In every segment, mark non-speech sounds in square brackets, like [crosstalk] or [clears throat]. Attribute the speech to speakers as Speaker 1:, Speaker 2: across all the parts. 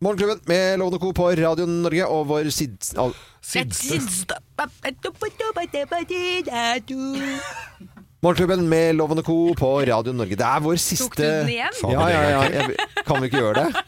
Speaker 1: Morgenklubben med Lovende Co. på Radio Norge og vår sids... al-
Speaker 2: Sidste.
Speaker 1: Morgenklubben med Lovende Co. på Radio Norge. Det er vår siste
Speaker 3: Tok du den igjen?
Speaker 1: Ja, ja, ja. Jeg, kan vi ikke gjøre
Speaker 3: [laughs]
Speaker 1: det?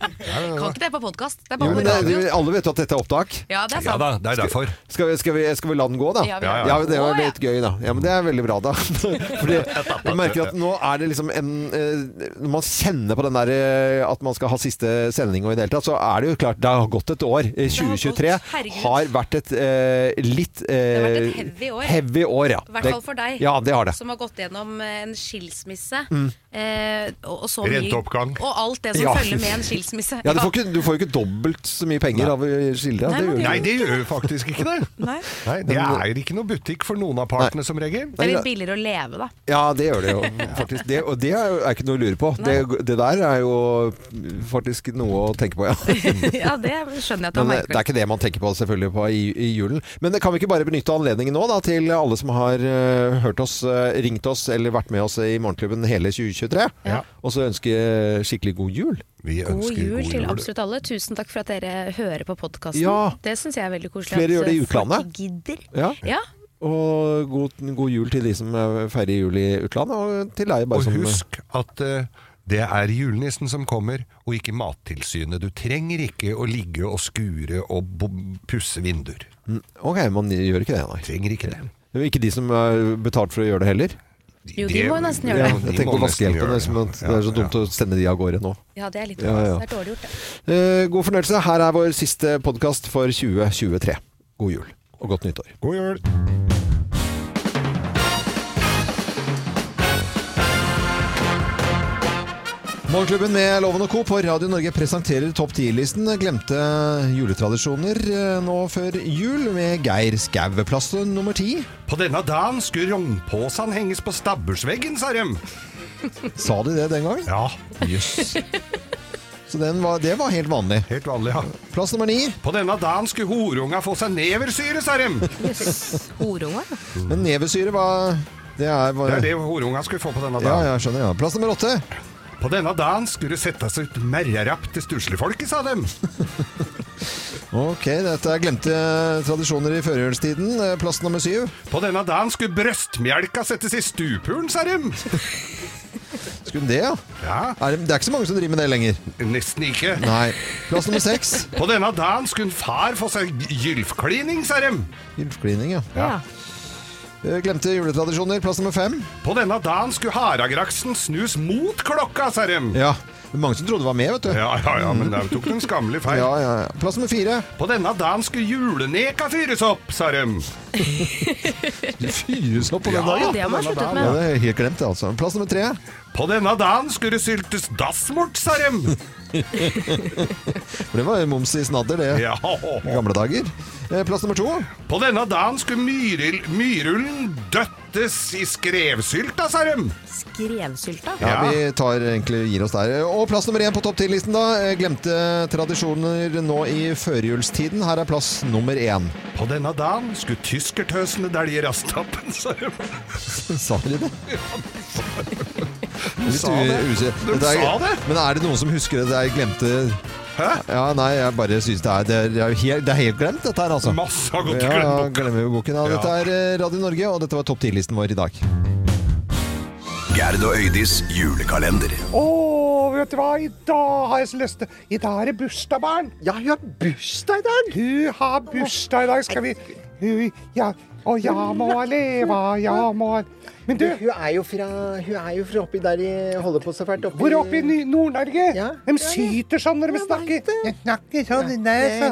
Speaker 3: Kan ikke det på podkast. Det er
Speaker 1: Jo,
Speaker 3: bare
Speaker 1: men
Speaker 3: på
Speaker 1: det,
Speaker 3: radioen.
Speaker 1: alle vet jo at dette er opptak.
Speaker 3: Ja, det er
Speaker 2: Ja
Speaker 3: sant.
Speaker 2: da, det er derfor.
Speaker 1: Skal vi, skal, vi, skal vi la den gå, da?
Speaker 3: Ja, vi gjør
Speaker 2: Ja, ja.
Speaker 3: det.
Speaker 1: Ja, men Det var
Speaker 3: Å, ja.
Speaker 1: litt gøy, da. Ja, men Det er veldig bra, da. [laughs] Fordi jeg merker at nå er det liksom en eh, Når man kjenner på den der eh, at man skal ha siste sending og i det hele tatt, så er det jo klart Det har gått et år. Eh,
Speaker 3: har gått,
Speaker 1: 2023
Speaker 3: herregud.
Speaker 1: har vært et eh, litt eh,
Speaker 3: har vært et heavy år.
Speaker 1: heavy år, ja.
Speaker 3: I hvert fall for deg,
Speaker 1: Ja, det har det.
Speaker 3: som har gått gjennom eh, en skilsmisse. Eh, og, og så mye-
Speaker 2: Renteoppgang.
Speaker 3: Og alt det som
Speaker 1: Ja.
Speaker 3: følger med en skilsmisse.
Speaker 1: Ja, du
Speaker 3: [laughs]
Speaker 1: får, ikke, du får jo ikke dobbelt så mye penger av skildra.
Speaker 3: Nei, man
Speaker 1: Det
Speaker 3: gjør
Speaker 1: gjør du
Speaker 2: Nei,
Speaker 1: ikke.
Speaker 2: det gjør jo faktisk ikke det.
Speaker 3: Nei.
Speaker 2: Nei, Det er ikke noe butikk for noen av partene, som regel.
Speaker 3: Det er litt billigere å leve,
Speaker 1: [laughs]
Speaker 3: da.
Speaker 1: Ja, det gjør det jo faktisk. Det, og det er jo er ikke noe å lure på. Det, det der er jo faktisk noe å tenke på, ja.
Speaker 3: [laughs] Ja, det skjønner jeg at du har
Speaker 1: Men eh,
Speaker 3: merket.
Speaker 1: det er ikke det man tenker på selvfølgelig på i, i julen. Men det kan vi ikke bare benytte anledningen nå da, til alle som har eh, hørt oss, eh, ringt oss eller vært med oss i Morgenklubben hele 2023?
Speaker 2: Ja.
Speaker 1: Og så ønsker skikkelig god jul.
Speaker 2: Vi
Speaker 3: God
Speaker 2: ønsker
Speaker 3: jul til absolutt alle. Tusen takk for at dere hører på podkasten.
Speaker 1: Ja.
Speaker 3: Det syns jeg er veldig koselig. at
Speaker 1: Flere
Speaker 3: eh,
Speaker 1: gjør det i
Speaker 3: folk
Speaker 1: utlandet.
Speaker 3: gidder.
Speaker 1: Ja.
Speaker 3: Ja,
Speaker 1: Og god, god jul til de som eh, feirer jul i utlandet, og til deg bare sånn,
Speaker 2: Og
Speaker 1: som
Speaker 2: husk at eh, det er julenissen som kommer, og ikke Mattilsynet. Du trenger ikke å ligge og skure og bo- pusse vinduer.
Speaker 1: Mm, Ok, man gjør ikke det, nei.
Speaker 2: Trenger ikke det.
Speaker 1: Ikke de som er betalt for å gjøre det heller.
Speaker 3: Jo, de må nesten gjøre
Speaker 1: Ja,
Speaker 3: det.
Speaker 1: jeg tenker på vaskehjelpen. Det, som at det er så dumt å sende de av gårde nå.
Speaker 3: ja det er litt
Speaker 1: Ja, ja.
Speaker 3: Det er dårlig gjort, det.
Speaker 1: Eh, god fornøyelse. Her er vår siste podkast for 2023. God jul og godt nyttår.
Speaker 2: God jul!
Speaker 1: Morgenklubben med Loven og Co. på Radio Norge presenterer Topp 10-listen glemte juletradisjoner eh, nå før jul med Geir Skau. Plass til nummer ti,
Speaker 2: På denne dagen skulle rognposen henges på stabbursveggen, sa de.
Speaker 1: sa de det den gangen?
Speaker 2: Ja,
Speaker 1: Jøss. Så den var, det var helt vanlig.
Speaker 2: helt vanlig, ja.
Speaker 1: Plass nummer ni.
Speaker 2: På denne dagen skulle horunga få seg neversyre, sa de.
Speaker 3: Jøss. Horunge.
Speaker 1: Men nevesyre var Det er
Speaker 2: Det
Speaker 1: bare
Speaker 2: er det horunga skulle få på denne
Speaker 1: Ja,
Speaker 2: dagen.
Speaker 1: ja, skjønner. Ja. Plass nummer åtte.
Speaker 2: På denne dagen skulle det settes ut merrerapp til stussligfolket, sa de.
Speaker 1: Ok, dette er glemte tradisjoner i førjulstiden. Eh, Plass nummer syv.
Speaker 2: På denne dagen skulle brøstmjelka settes i stupuren, sa de.
Speaker 1: Skulle det, ja?
Speaker 2: Ja,
Speaker 1: Er det, det er ikke så mange som driver med det lenger.
Speaker 2: nesten ikke.
Speaker 1: Nei. Plass nummer seks.
Speaker 2: På denne dagen skulle far få seg gylfklining, sa de.
Speaker 1: Gylfklining, ja.
Speaker 3: Ja.
Speaker 1: Eh, Glemte juletradisjoner. Plass nummer fem.
Speaker 2: På denne dagen skulle Haragraksen snus mot klokka, sa de.
Speaker 1: Ja. Det er mange som trodde det var med, vet du.
Speaker 2: Ja, ja, ja, men de tok den skammelig feil.
Speaker 1: Ja, ja, ja. Plass nummer fire.
Speaker 2: På denne dagen skulle juleneka fyres opp, sa de.
Speaker 1: Fyres opp på den
Speaker 2: Ja,
Speaker 1: dagen.
Speaker 3: Det har man
Speaker 2: på denne
Speaker 3: sluttet
Speaker 2: dagen.
Speaker 1: Ja,
Speaker 3: med.
Speaker 1: det er helt glemt, det, altså. Plass nummer tre.
Speaker 2: På denne dagen skulle det syltes dassmort, sa [laughs] de.
Speaker 1: For det var jo moms i snadder, det.
Speaker 2: Ja.
Speaker 1: I gamle dager. Eh, Plass nummer to.
Speaker 2: På denne dagen skulle myril- myrullen døttes i skrevsylta, sa de.
Speaker 3: Skrevsylta.
Speaker 1: Ja,
Speaker 2: Ja.
Speaker 1: Vi tar egentlig gir oss der. Og plass nummer én på topp 10-listen, da. Eh, Glemte tradisjoner nå i førjulstiden. Her er plass nummer én.
Speaker 2: På denne dagen skulle tyskertøsene dælje rastappen, sa de.
Speaker 1: Sa de det? Litt
Speaker 2: sa det.
Speaker 1: u- usikker.
Speaker 2: De
Speaker 1: Dette er-
Speaker 2: sa det.
Speaker 1: Men er det noen som husker det? Det er glemte
Speaker 2: Hæ?
Speaker 1: Ja, nei, jeg bare syns det er Det er, det er, jo helt, det er helt glemt, dette her, altså.
Speaker 2: Masse har gått
Speaker 1: Ja,
Speaker 2: i
Speaker 1: ja,
Speaker 2: glemmeboka.
Speaker 1: glemmer jo boken. Ja,
Speaker 2: Ja.
Speaker 1: dette er eh, Radio Norge, og dette var topp 10-listen vår i dag.
Speaker 4: Gerd og Øydis julekalender.
Speaker 2: Å, vet du hva? I dag har jeg så lyst til I dag er det bursdag, barn.
Speaker 5: Ja, jeg har bursdag i dag!
Speaker 2: Du har bursdag i dag. Skal vi Ui, Ja. Å, ja må han leve, ja må han Men du,
Speaker 5: Hun er jo fra, hun er jo fra oppi der de holder på så fælt. Oppi,
Speaker 2: hvor oppe i Ny- Nord-Norge?
Speaker 5: Ja.
Speaker 2: De syter sånn når de snakker. De snakker sånn i nesa.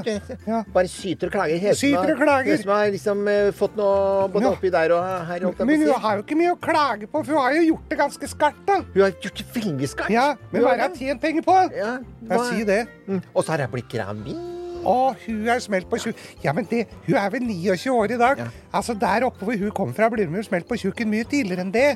Speaker 2: Ja.
Speaker 5: Bare syter og klager. Hesen
Speaker 2: Syter og klager.
Speaker 5: Hesen har liksom eh, fått noe både
Speaker 2: Ja.
Speaker 5: oppi der og her. holdt jeg på å
Speaker 2: Men
Speaker 5: si.
Speaker 2: hun har jo ikke mye å klage på, for hun har jo gjort det ganske skarpt, da.
Speaker 5: hun har gjort det veldig skarpt.
Speaker 2: Ja, Men hva er det hun har tjent penger på?
Speaker 5: Ja,
Speaker 2: Ja, si det.
Speaker 5: Mm. Og så har jeg blitt gravid.
Speaker 2: Å, hun er smelt på tjukk... Ja, men det, hun er vel 29 år i dag.
Speaker 5: Ja.
Speaker 2: Altså, Der oppe hvor hun kommer fra, blir hun jo smelt på tjukken mye tidligere enn
Speaker 5: [laughs]
Speaker 2: det.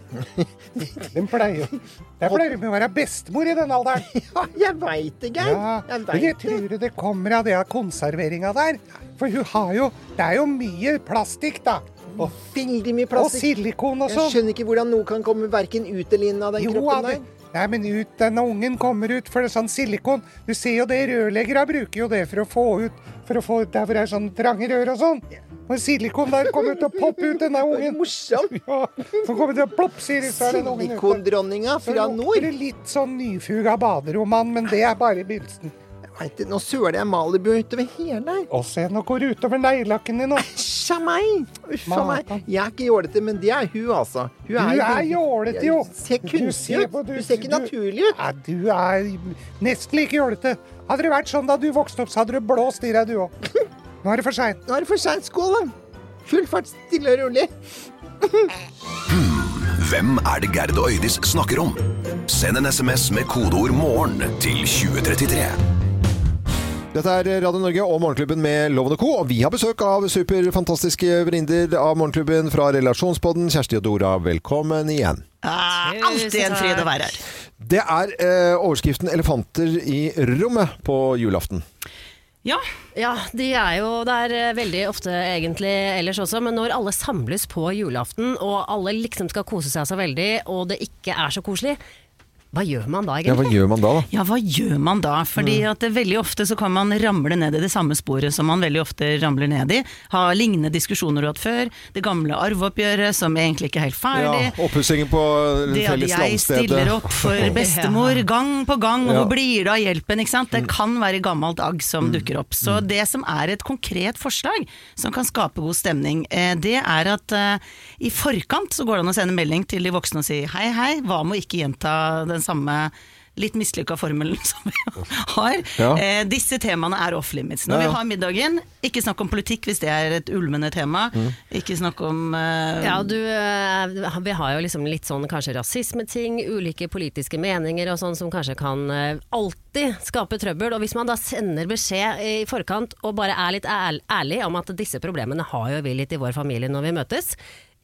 Speaker 2: Den pleier jo Der pleier hun å være bestemor i den alderen.
Speaker 5: Ja, jeg veit det, Geir.
Speaker 2: Ja,
Speaker 5: jeg
Speaker 2: men jeg
Speaker 5: vet det.
Speaker 2: tror det kommer av det av konserveringa der. For hun har jo Det er jo mye plastikk, da.
Speaker 5: Mm.
Speaker 2: Og,
Speaker 5: Veldig mye
Speaker 2: og
Speaker 5: plastikk.
Speaker 2: silikon og
Speaker 5: Jeg
Speaker 2: sånn.
Speaker 5: skjønner ikke hvordan noe kan komme verken ut eller inn av den
Speaker 2: Jo,
Speaker 5: kroppen
Speaker 2: det,
Speaker 5: der.
Speaker 6: Nei, men ut, denne ungen kommer ut, for det er sånn silikon. Du ser jo det, rørleggere bruker jo det for å få ut For å få ut der hvor det er sånn trange rør og sånn. Og silikon der kommer til å poppe ut denne
Speaker 5: [laughs]
Speaker 6: ungen.
Speaker 5: Morsomt!
Speaker 6: Ja, så kommer det til å plopp, sier de, så er den ungen ute.
Speaker 5: Silikondronninga
Speaker 6: Så
Speaker 5: fra
Speaker 6: lukter
Speaker 5: nord.
Speaker 6: det litt sånn nyfuga baderoman, men det er bare i begynnelsen.
Speaker 5: Nei, det- nå søler jeg Malibu utover hele her.
Speaker 6: Og se, nå går det utover neglelakken din nå.
Speaker 5: Æsj a meg! Uff a meg.
Speaker 6: Matan.
Speaker 5: Jeg er ikke jålete, men det er hun, altså. Hun
Speaker 6: Du er
Speaker 5: veldig-
Speaker 6: jålete, jo.
Speaker 5: Du ser
Speaker 6: Du
Speaker 5: kunstig
Speaker 6: ser på-
Speaker 5: ut. Du ser ikke naturlig ut.
Speaker 6: Nei, du er nesten like jålete. Hadde det vært sånn da du vokste opp, så hadde du blåst i deg, du òg. Nå er det for seint.
Speaker 5: Nå er det for seint. Skål, da. Full fart, stille og rolig.
Speaker 4: Hvem er det Gerd og Øydis snakker om? Send en sms med kodeord 'morgen' til 2033.
Speaker 1: Dette er eh, Radio Norge og Morgenklubben med Loven og Co. Og vi har besøk av superfantastiske vrinder av Morgenklubben fra Relasjonspodden. Kjersti og Dora, velkommen igjen.
Speaker 7: Ah, alltid en fryd å være her.
Speaker 1: Det er eh, overskriften 'Elefanter i rommet' på julaften.
Speaker 7: Ja,
Speaker 8: Ja, de er jo der eh, veldig ofte egentlig ellers også, men når alle samles på julaften, og alle liksom skal kose seg så veldig, og det ikke er så koselig, hva gjør man da
Speaker 1: Ja,
Speaker 8: egentlig?
Speaker 1: hva gjør man da, da?
Speaker 7: ja hva gjør man da? Fordi at det, veldig ofte så kan man ramle ned i det samme sporet som man veldig ofte ramler ned i. Ha lignende diskusjoner du har hatt før. Det gamle arveoppgjøret som egentlig ikke er helt ferdig.
Speaker 1: Ja, Oppussingen på det
Speaker 7: Det at
Speaker 1: felles
Speaker 7: jeg stiller
Speaker 1: landstedet.
Speaker 7: opp
Speaker 1: [laughs]
Speaker 7: for bestemor gang på gang, og
Speaker 1: Ja. Mm.
Speaker 7: hvor blir det av hjelpen? Ikke sant? Det kan være gammelt agg som dukker opp. Så det som er et konkret forslag som kan skape god stemning, eh, det er at eh, i forkant så går det an å sende melding til de voksne og si hei hei, hva med å ikke gjenta den samme Litt mislykka formelen [laughs] som vi har.
Speaker 1: Ja.
Speaker 7: Eh, disse temaene er off limits. Når
Speaker 1: Ja, ja.
Speaker 7: vi har middagen, ikke snakk om politikk hvis det er et ulmende tema.
Speaker 1: Mm.
Speaker 7: Ikke snakk om eh,
Speaker 8: Ja, du, eh, vi har jo liksom litt sånn kanskje rasismeting, ulike politiske meninger og sånn som kanskje kan eh, alltid skape trøbbel. Og hvis man da sender beskjed i forkant og bare er litt ærl- ærlig om at disse problemene har jo vi litt i vår familie når vi møtes,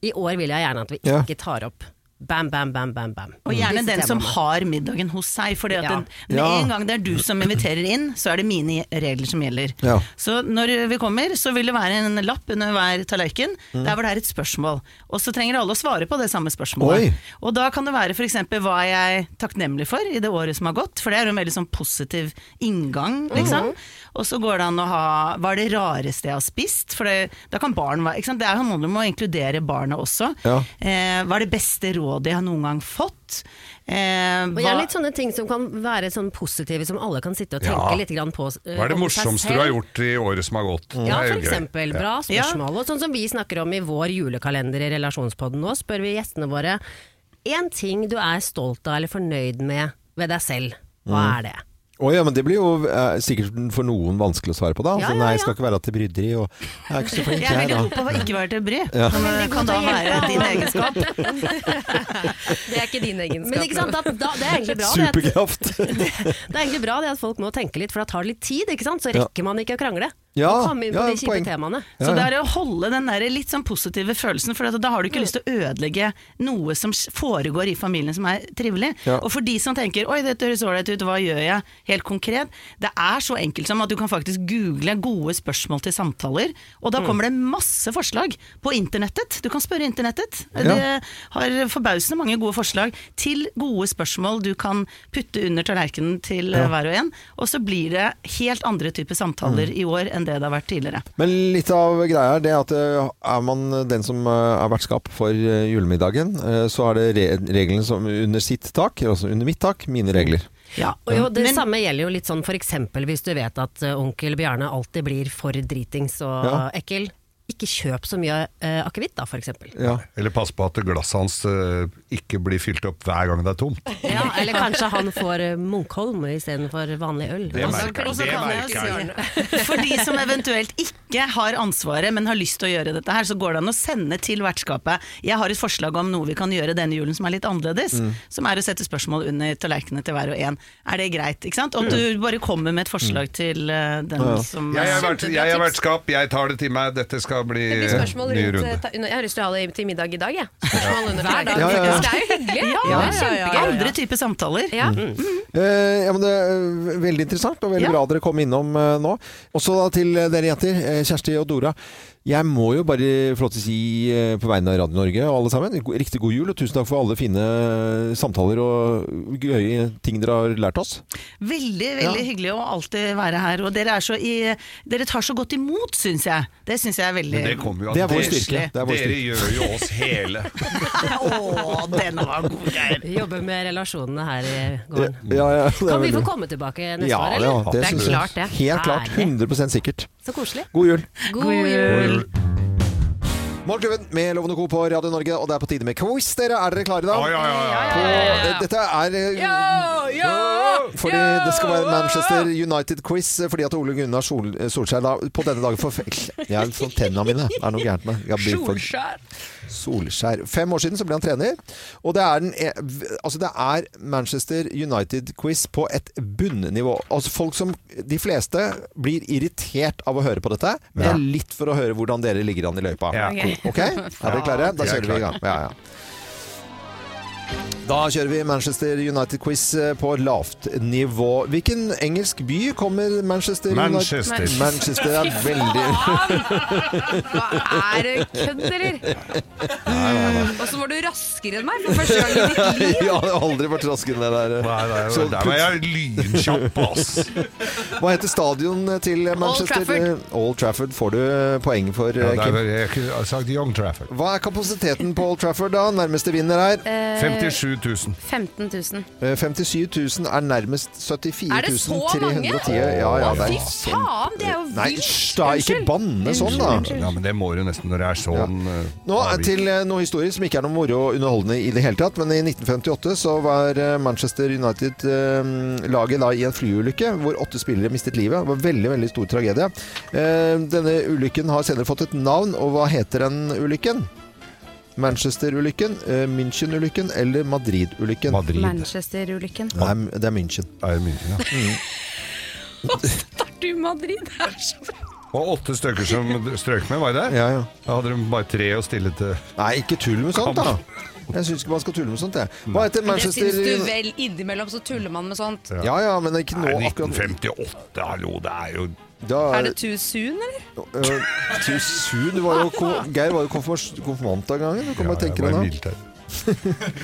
Speaker 8: i år vil jeg gjerne at vi
Speaker 1: Ja.
Speaker 8: ikke tar opp. Bam, bam, bam, bam, bam.
Speaker 7: Og gjerne
Speaker 8: Mm. Disse
Speaker 7: den som
Speaker 8: temaene.
Speaker 7: har middagen hos seg. For
Speaker 8: Ja.
Speaker 7: med
Speaker 1: Ja.
Speaker 7: en gang det er du som inviterer inn, så er det mine regler som gjelder.
Speaker 1: Ja.
Speaker 7: Så når vi kommer, så vil det være en lapp under hver tallerken der hvor det er et spørsmål. Og så trenger alle å svare på det samme spørsmålet.
Speaker 1: Oi.
Speaker 7: Og da kan det være f.eks.: Hva er jeg takknemlig for i det året som har gått? For det er jo en veldig sånn positiv inngang, liksom. Og så går det an å ha Hva er det rareste jeg har spist? For det, da kan barn være ikke sant? Det er- handler om å inkludere barna også.
Speaker 1: Ja.
Speaker 7: Eh, hva er det beste rådet jeg har noen gang fått? Eh,
Speaker 8: Og gjerne litt sånn- sånne ting som kan være sånn positive, som alle kan sitte og tenke
Speaker 2: Ja.
Speaker 8: litt grann på. eh,
Speaker 2: Hva er det
Speaker 8: om seg
Speaker 2: morsomste du
Speaker 8: selv.
Speaker 2: har gjort i året som har gått?
Speaker 8: Ja,
Speaker 2: Mm. Det er jo
Speaker 8: for
Speaker 2: gøy.
Speaker 8: eksempel. Bra spørsmål. Og sånn som vi snakker om i vår julekalender i relasjonspodden nå, spør vi gjestene våre én ting du er stolt av eller fornøyd med ved deg selv. Hva er det?
Speaker 1: Å ja, men det blir jo eh, sikkert for noen vanskelig å svare på, da.
Speaker 8: Ja,
Speaker 1: Altså,
Speaker 8: ja,
Speaker 1: nei,
Speaker 8: ja.
Speaker 1: jeg skal ikke være til bryderi, og jeg er ikke så
Speaker 8: [laughs]
Speaker 1: flink
Speaker 7: jeg er
Speaker 1: her,
Speaker 7: veldig
Speaker 1: da.
Speaker 7: god på å ikke være til bry. Som eh, kan da være din egenskap.
Speaker 8: Det er ikke din egenskap. Men ikke sant, da, da, det er egentlig bra. Det, at,
Speaker 1: Superkraft.
Speaker 8: [laughs] det er egentlig bra det at folk må tenke litt, for da tar det litt tid, ikke sant? Så rekker man ikke å krangle.
Speaker 1: Ja,
Speaker 8: og komme inn på
Speaker 1: ja,
Speaker 8: de kjipe
Speaker 1: poeng.
Speaker 8: temaene.
Speaker 7: Så det er å holde den der litt sånn positive følelsen, for at da har du
Speaker 1: Mm.
Speaker 7: ikke lyst til å ødelegge noe som foregår i familien som er trivelig.
Speaker 1: Ja.
Speaker 7: Og for de som tenker 'oi, dette høres ålreit ut, hva gjør jeg?' helt konkret, det er så enkelt som at du kan faktisk google gode spørsmål til samtaler, og
Speaker 1: Mm.
Speaker 7: da kommer det masse forslag på internettet. Du kan spørre internettet. Det har forbausende mange gode forslag til gode spørsmål du kan putte under tallerkenen til eh, hver og en, og så blir det helt andre typer samtaler
Speaker 1: Mm.
Speaker 7: i år enn det det har vært tidligere.
Speaker 1: Men litt av greia er det at eh, er man den som eh, er vertskap for eh, julemiddagen, eh, så er det re reglene som under sitt tak, altså under mitt tak, mine regler.
Speaker 7: Ja,
Speaker 8: Og jo, det
Speaker 7: men-
Speaker 8: samme gjelder jo litt sånn for eksempel hvis du vet at eh, onkel Bjarne alltid blir for dritings og
Speaker 1: Ja.
Speaker 8: ekkel. Ikke kjøp så mye uh, akevitt da, for eksempel.
Speaker 1: Ja.
Speaker 2: Eller pass på at glasset hans eh, ikke blir fylt opp hver gang det er tomt.
Speaker 8: Ja, eller kanskje han får eh, Munkholm istedenfor vanlig øl.
Speaker 2: Det
Speaker 8: Altså,
Speaker 2: merker jeg.
Speaker 7: Og så
Speaker 2: Det
Speaker 7: kan jeg
Speaker 2: merker jeg.
Speaker 7: jo si [laughs] For de som eventuelt ikke har ansvaret, men har lyst til å gjøre dette her, så går det an å sende til vertskapet. Jeg har et forslag om noe vi kan gjøre denne julen som er litt annerledes.
Speaker 2: Mm.
Speaker 7: Som er å sette spørsmål under tallerkenene til hver og en. Er det greit? ikke sant? Og du bare kommer med et
Speaker 2: Mm.
Speaker 7: forslag til eh, den som
Speaker 2: Jeg er,
Speaker 7: eh,
Speaker 2: vert, jeg er vertskap, jeg tar det til meg, dette skal bli
Speaker 9: Det blir
Speaker 2: eh,
Speaker 9: spørsmål
Speaker 2: ny
Speaker 9: rundt eh,
Speaker 2: runde.
Speaker 9: ta, under- Jeg har lyst til å ha det til middag i dag, jeg. Spørsmål under hver dag.
Speaker 1: Ja, ja, ja.
Speaker 9: Det er jo
Speaker 7: ja,
Speaker 9: hyggelig. det er kjempegøy.
Speaker 7: Andre typer samtaler.
Speaker 9: Ja.
Speaker 1: Eh, ja, men det er Veldig interessant, og veldig
Speaker 7: Ja.
Speaker 1: bra dere kom innom eh, nå. Også da til eh, dere jenter, eh, Kjersti og Dora. Jeg må jo bare få lov til å si eh, på vegne av Radio Norge og alle sammen, go- riktig god jul, og tusen takk for alle fine eh, samtaler og gøye ting dere har lært oss.
Speaker 7: Veldig veldig hyggelig å alltid være her. Og dere, er så i, dere tar så godt imot, syns jeg. Det syns jeg er veldig
Speaker 2: Men det
Speaker 7: [laughs]
Speaker 2: kommer jo av
Speaker 1: Det er vår
Speaker 2: dere.
Speaker 1: styrke. Det er vår
Speaker 2: Dere
Speaker 1: styrke.
Speaker 2: gjør jo oss hele.
Speaker 7: Å, den var god, Geir.
Speaker 8: Vi jobber med relasjonene her i
Speaker 1: Ja,
Speaker 8: gården.
Speaker 1: Eh, ja, det er
Speaker 8: Kan vi
Speaker 1: veldig-
Speaker 8: få komme tilbake neste
Speaker 1: ja, ja,
Speaker 8: år, eller?
Speaker 1: det,
Speaker 8: det er
Speaker 1: synes jeg.
Speaker 8: klart, det.
Speaker 1: Helt klart.
Speaker 8: Herlig.
Speaker 1: 100 sikkert.
Speaker 8: Så koselig.
Speaker 1: God jul.
Speaker 8: God jul.
Speaker 1: Morgenklubben med Lovende Co på Radio Norge, og det er på tide med quiz. Dere, er dere klare [laughs] da?
Speaker 2: Ja, ja, ja, ja.
Speaker 1: Og, eh, Dette er eh, Fordi det skal være Manchester United-quiz eh, fordi at Ole Gunnar Sol eh, Solskjær da, på denne dagen for Jeg er sånn tenna mine. Det er noe gærent med Jeg blir for- Solskjær. Fem år siden så ble han trener. Og det er, den, e- altså det er Manchester United-quiz på et bunnivå. Altså folk som De fleste blir irritert av å høre på dette, men det er litt for å høre hvordan dere ligger an i løypa.
Speaker 2: Ja.
Speaker 1: Ok? Er dere klare? Da
Speaker 2: Vi er
Speaker 1: kjører vi i gang. Ja, ja. Da kjører vi Manchester United-quiz på lavt nivå. Hvilken engelsk by kommer Manchester United
Speaker 2: Manchester.
Speaker 1: Manchester er veldig [laughs]
Speaker 9: Hva er det kødd, eller?
Speaker 1: [laughs]
Speaker 9: Og så var du raskere enn meg for første gang i ditt liv.
Speaker 1: Jeg har aldri vært raskere enn det der.
Speaker 2: Nei, nei,
Speaker 1: Så
Speaker 2: der var jeg lynkjapp,
Speaker 1: [laughs]
Speaker 2: ass.
Speaker 1: Hva heter stadion eh, til Manchester?
Speaker 9: Trafford.
Speaker 1: Old Trafford får du eh, poeng for,
Speaker 2: Ja, der
Speaker 1: Kim.
Speaker 2: var jeg kunne sagt Young Trafford.
Speaker 1: Hva er kapasiteten på Old Trafford, da? Nærmeste vinner her.
Speaker 9: Eh.
Speaker 2: 57 000.
Speaker 3: 15 000.
Speaker 1: Eh, 57 000 er nærmest 74
Speaker 9: Er det så
Speaker 1: 310. Ja, ja, det er sånn.
Speaker 9: Fy faen, det er jo
Speaker 1: Nei,
Speaker 9: vilt!
Speaker 1: hysj da! Ikke
Speaker 9: Unnskyld.
Speaker 1: banne sånn, da.
Speaker 2: Ja, men det må du nesten når det er sånn. eh,
Speaker 1: Nå er
Speaker 2: avvik.
Speaker 1: til eh, noe historie som ikke er noe moro og underholdende i det hele tatt, men i 1958 så var eh, Manchester United-laget da i en flyulykke hvor åtte spillere mistet livet. Det var veldig, veldig stor tragedie. Eh, Denne ulykken har senere fått et navn, og hva heter den ulykken? Manchester-ulykken, eh, München-ulykken eller Madrid-ulykken?
Speaker 2: Madrid.
Speaker 3: Manchester-ulykken.
Speaker 1: Nei, det er München.
Speaker 2: Er det München, ja.
Speaker 3: Starter i Madrid, det er så bra!
Speaker 2: Og åtte stykker som strøk med, var det det?
Speaker 1: Ja, ja.
Speaker 2: Da hadde de bare tre å stille til.
Speaker 1: Nei, ikke tull med sånt, da. Jeg syns ikke man skal tulle med sånt, jeg. Hva heter
Speaker 9: Det
Speaker 1: Manchester
Speaker 9: syns du vel. Innimellom så tuller man med sånt.
Speaker 1: Ja ja, men ikke nå
Speaker 2: Nei,
Speaker 1: akkurat.
Speaker 2: 1958, hallo, det er jo
Speaker 1: Da
Speaker 9: Er det too soon, eller?
Speaker 1: Øh, Too soon? Du var jo, ko- Geir var jo konfirmas- konfirmant av gangen. Du kan bare
Speaker 2: Ja,
Speaker 1: tenke
Speaker 2: det
Speaker 1: deg
Speaker 2: var
Speaker 1: det.
Speaker 2: mildt her.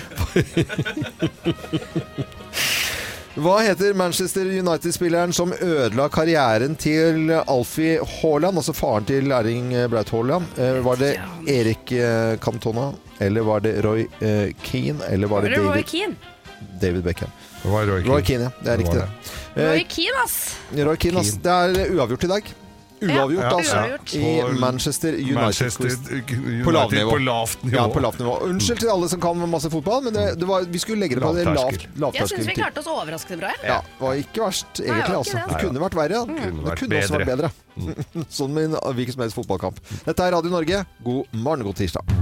Speaker 1: Hva heter Manchester United-spilleren som ødela karrieren til Alfie Haaland, altså faren til Erling Braut Haaland? Eh, Var det Erik eh, Cantona, eller var det Roy eh, Keane, eller var det
Speaker 3: Eller Roy
Speaker 1: David,
Speaker 3: Keane.
Speaker 1: David Beckham?
Speaker 2: Det var Roy
Speaker 1: Roy
Speaker 2: Keane.
Speaker 1: Keane, ja. Det er
Speaker 2: Det var
Speaker 1: riktig.
Speaker 3: Roy
Speaker 1: Eh,
Speaker 3: Keane, ass!
Speaker 1: Roy Keane, altså. Det er uavgjort i dag. Uavgjort,
Speaker 2: Ja,
Speaker 1: altså.
Speaker 2: uavgjort.
Speaker 1: I Manchester
Speaker 2: Manchester
Speaker 1: United-quiz.
Speaker 2: United
Speaker 1: På lavt nivå.
Speaker 2: På lavt nivå.
Speaker 1: Ja, på lavt nivå. Unnskyld til alle som kan masse fotball, men det, det var, vi skulle legge det på det
Speaker 2: Lavterskel.
Speaker 1: lavt
Speaker 3: Jeg syns vi
Speaker 1: lavterskeltilbud.
Speaker 3: klarte oss overraskende bra. jeg.
Speaker 1: Ja, var ikke verst, egentlig.
Speaker 3: det Mm. var
Speaker 1: altså.
Speaker 3: ikke
Speaker 1: Det kunne vært verre. Det kunne,
Speaker 2: vært
Speaker 1: også vært bedre. [laughs] sånn med en hvilken som helst fotballkamp. Dette er Radio Norge. God morgen, god tirsdag.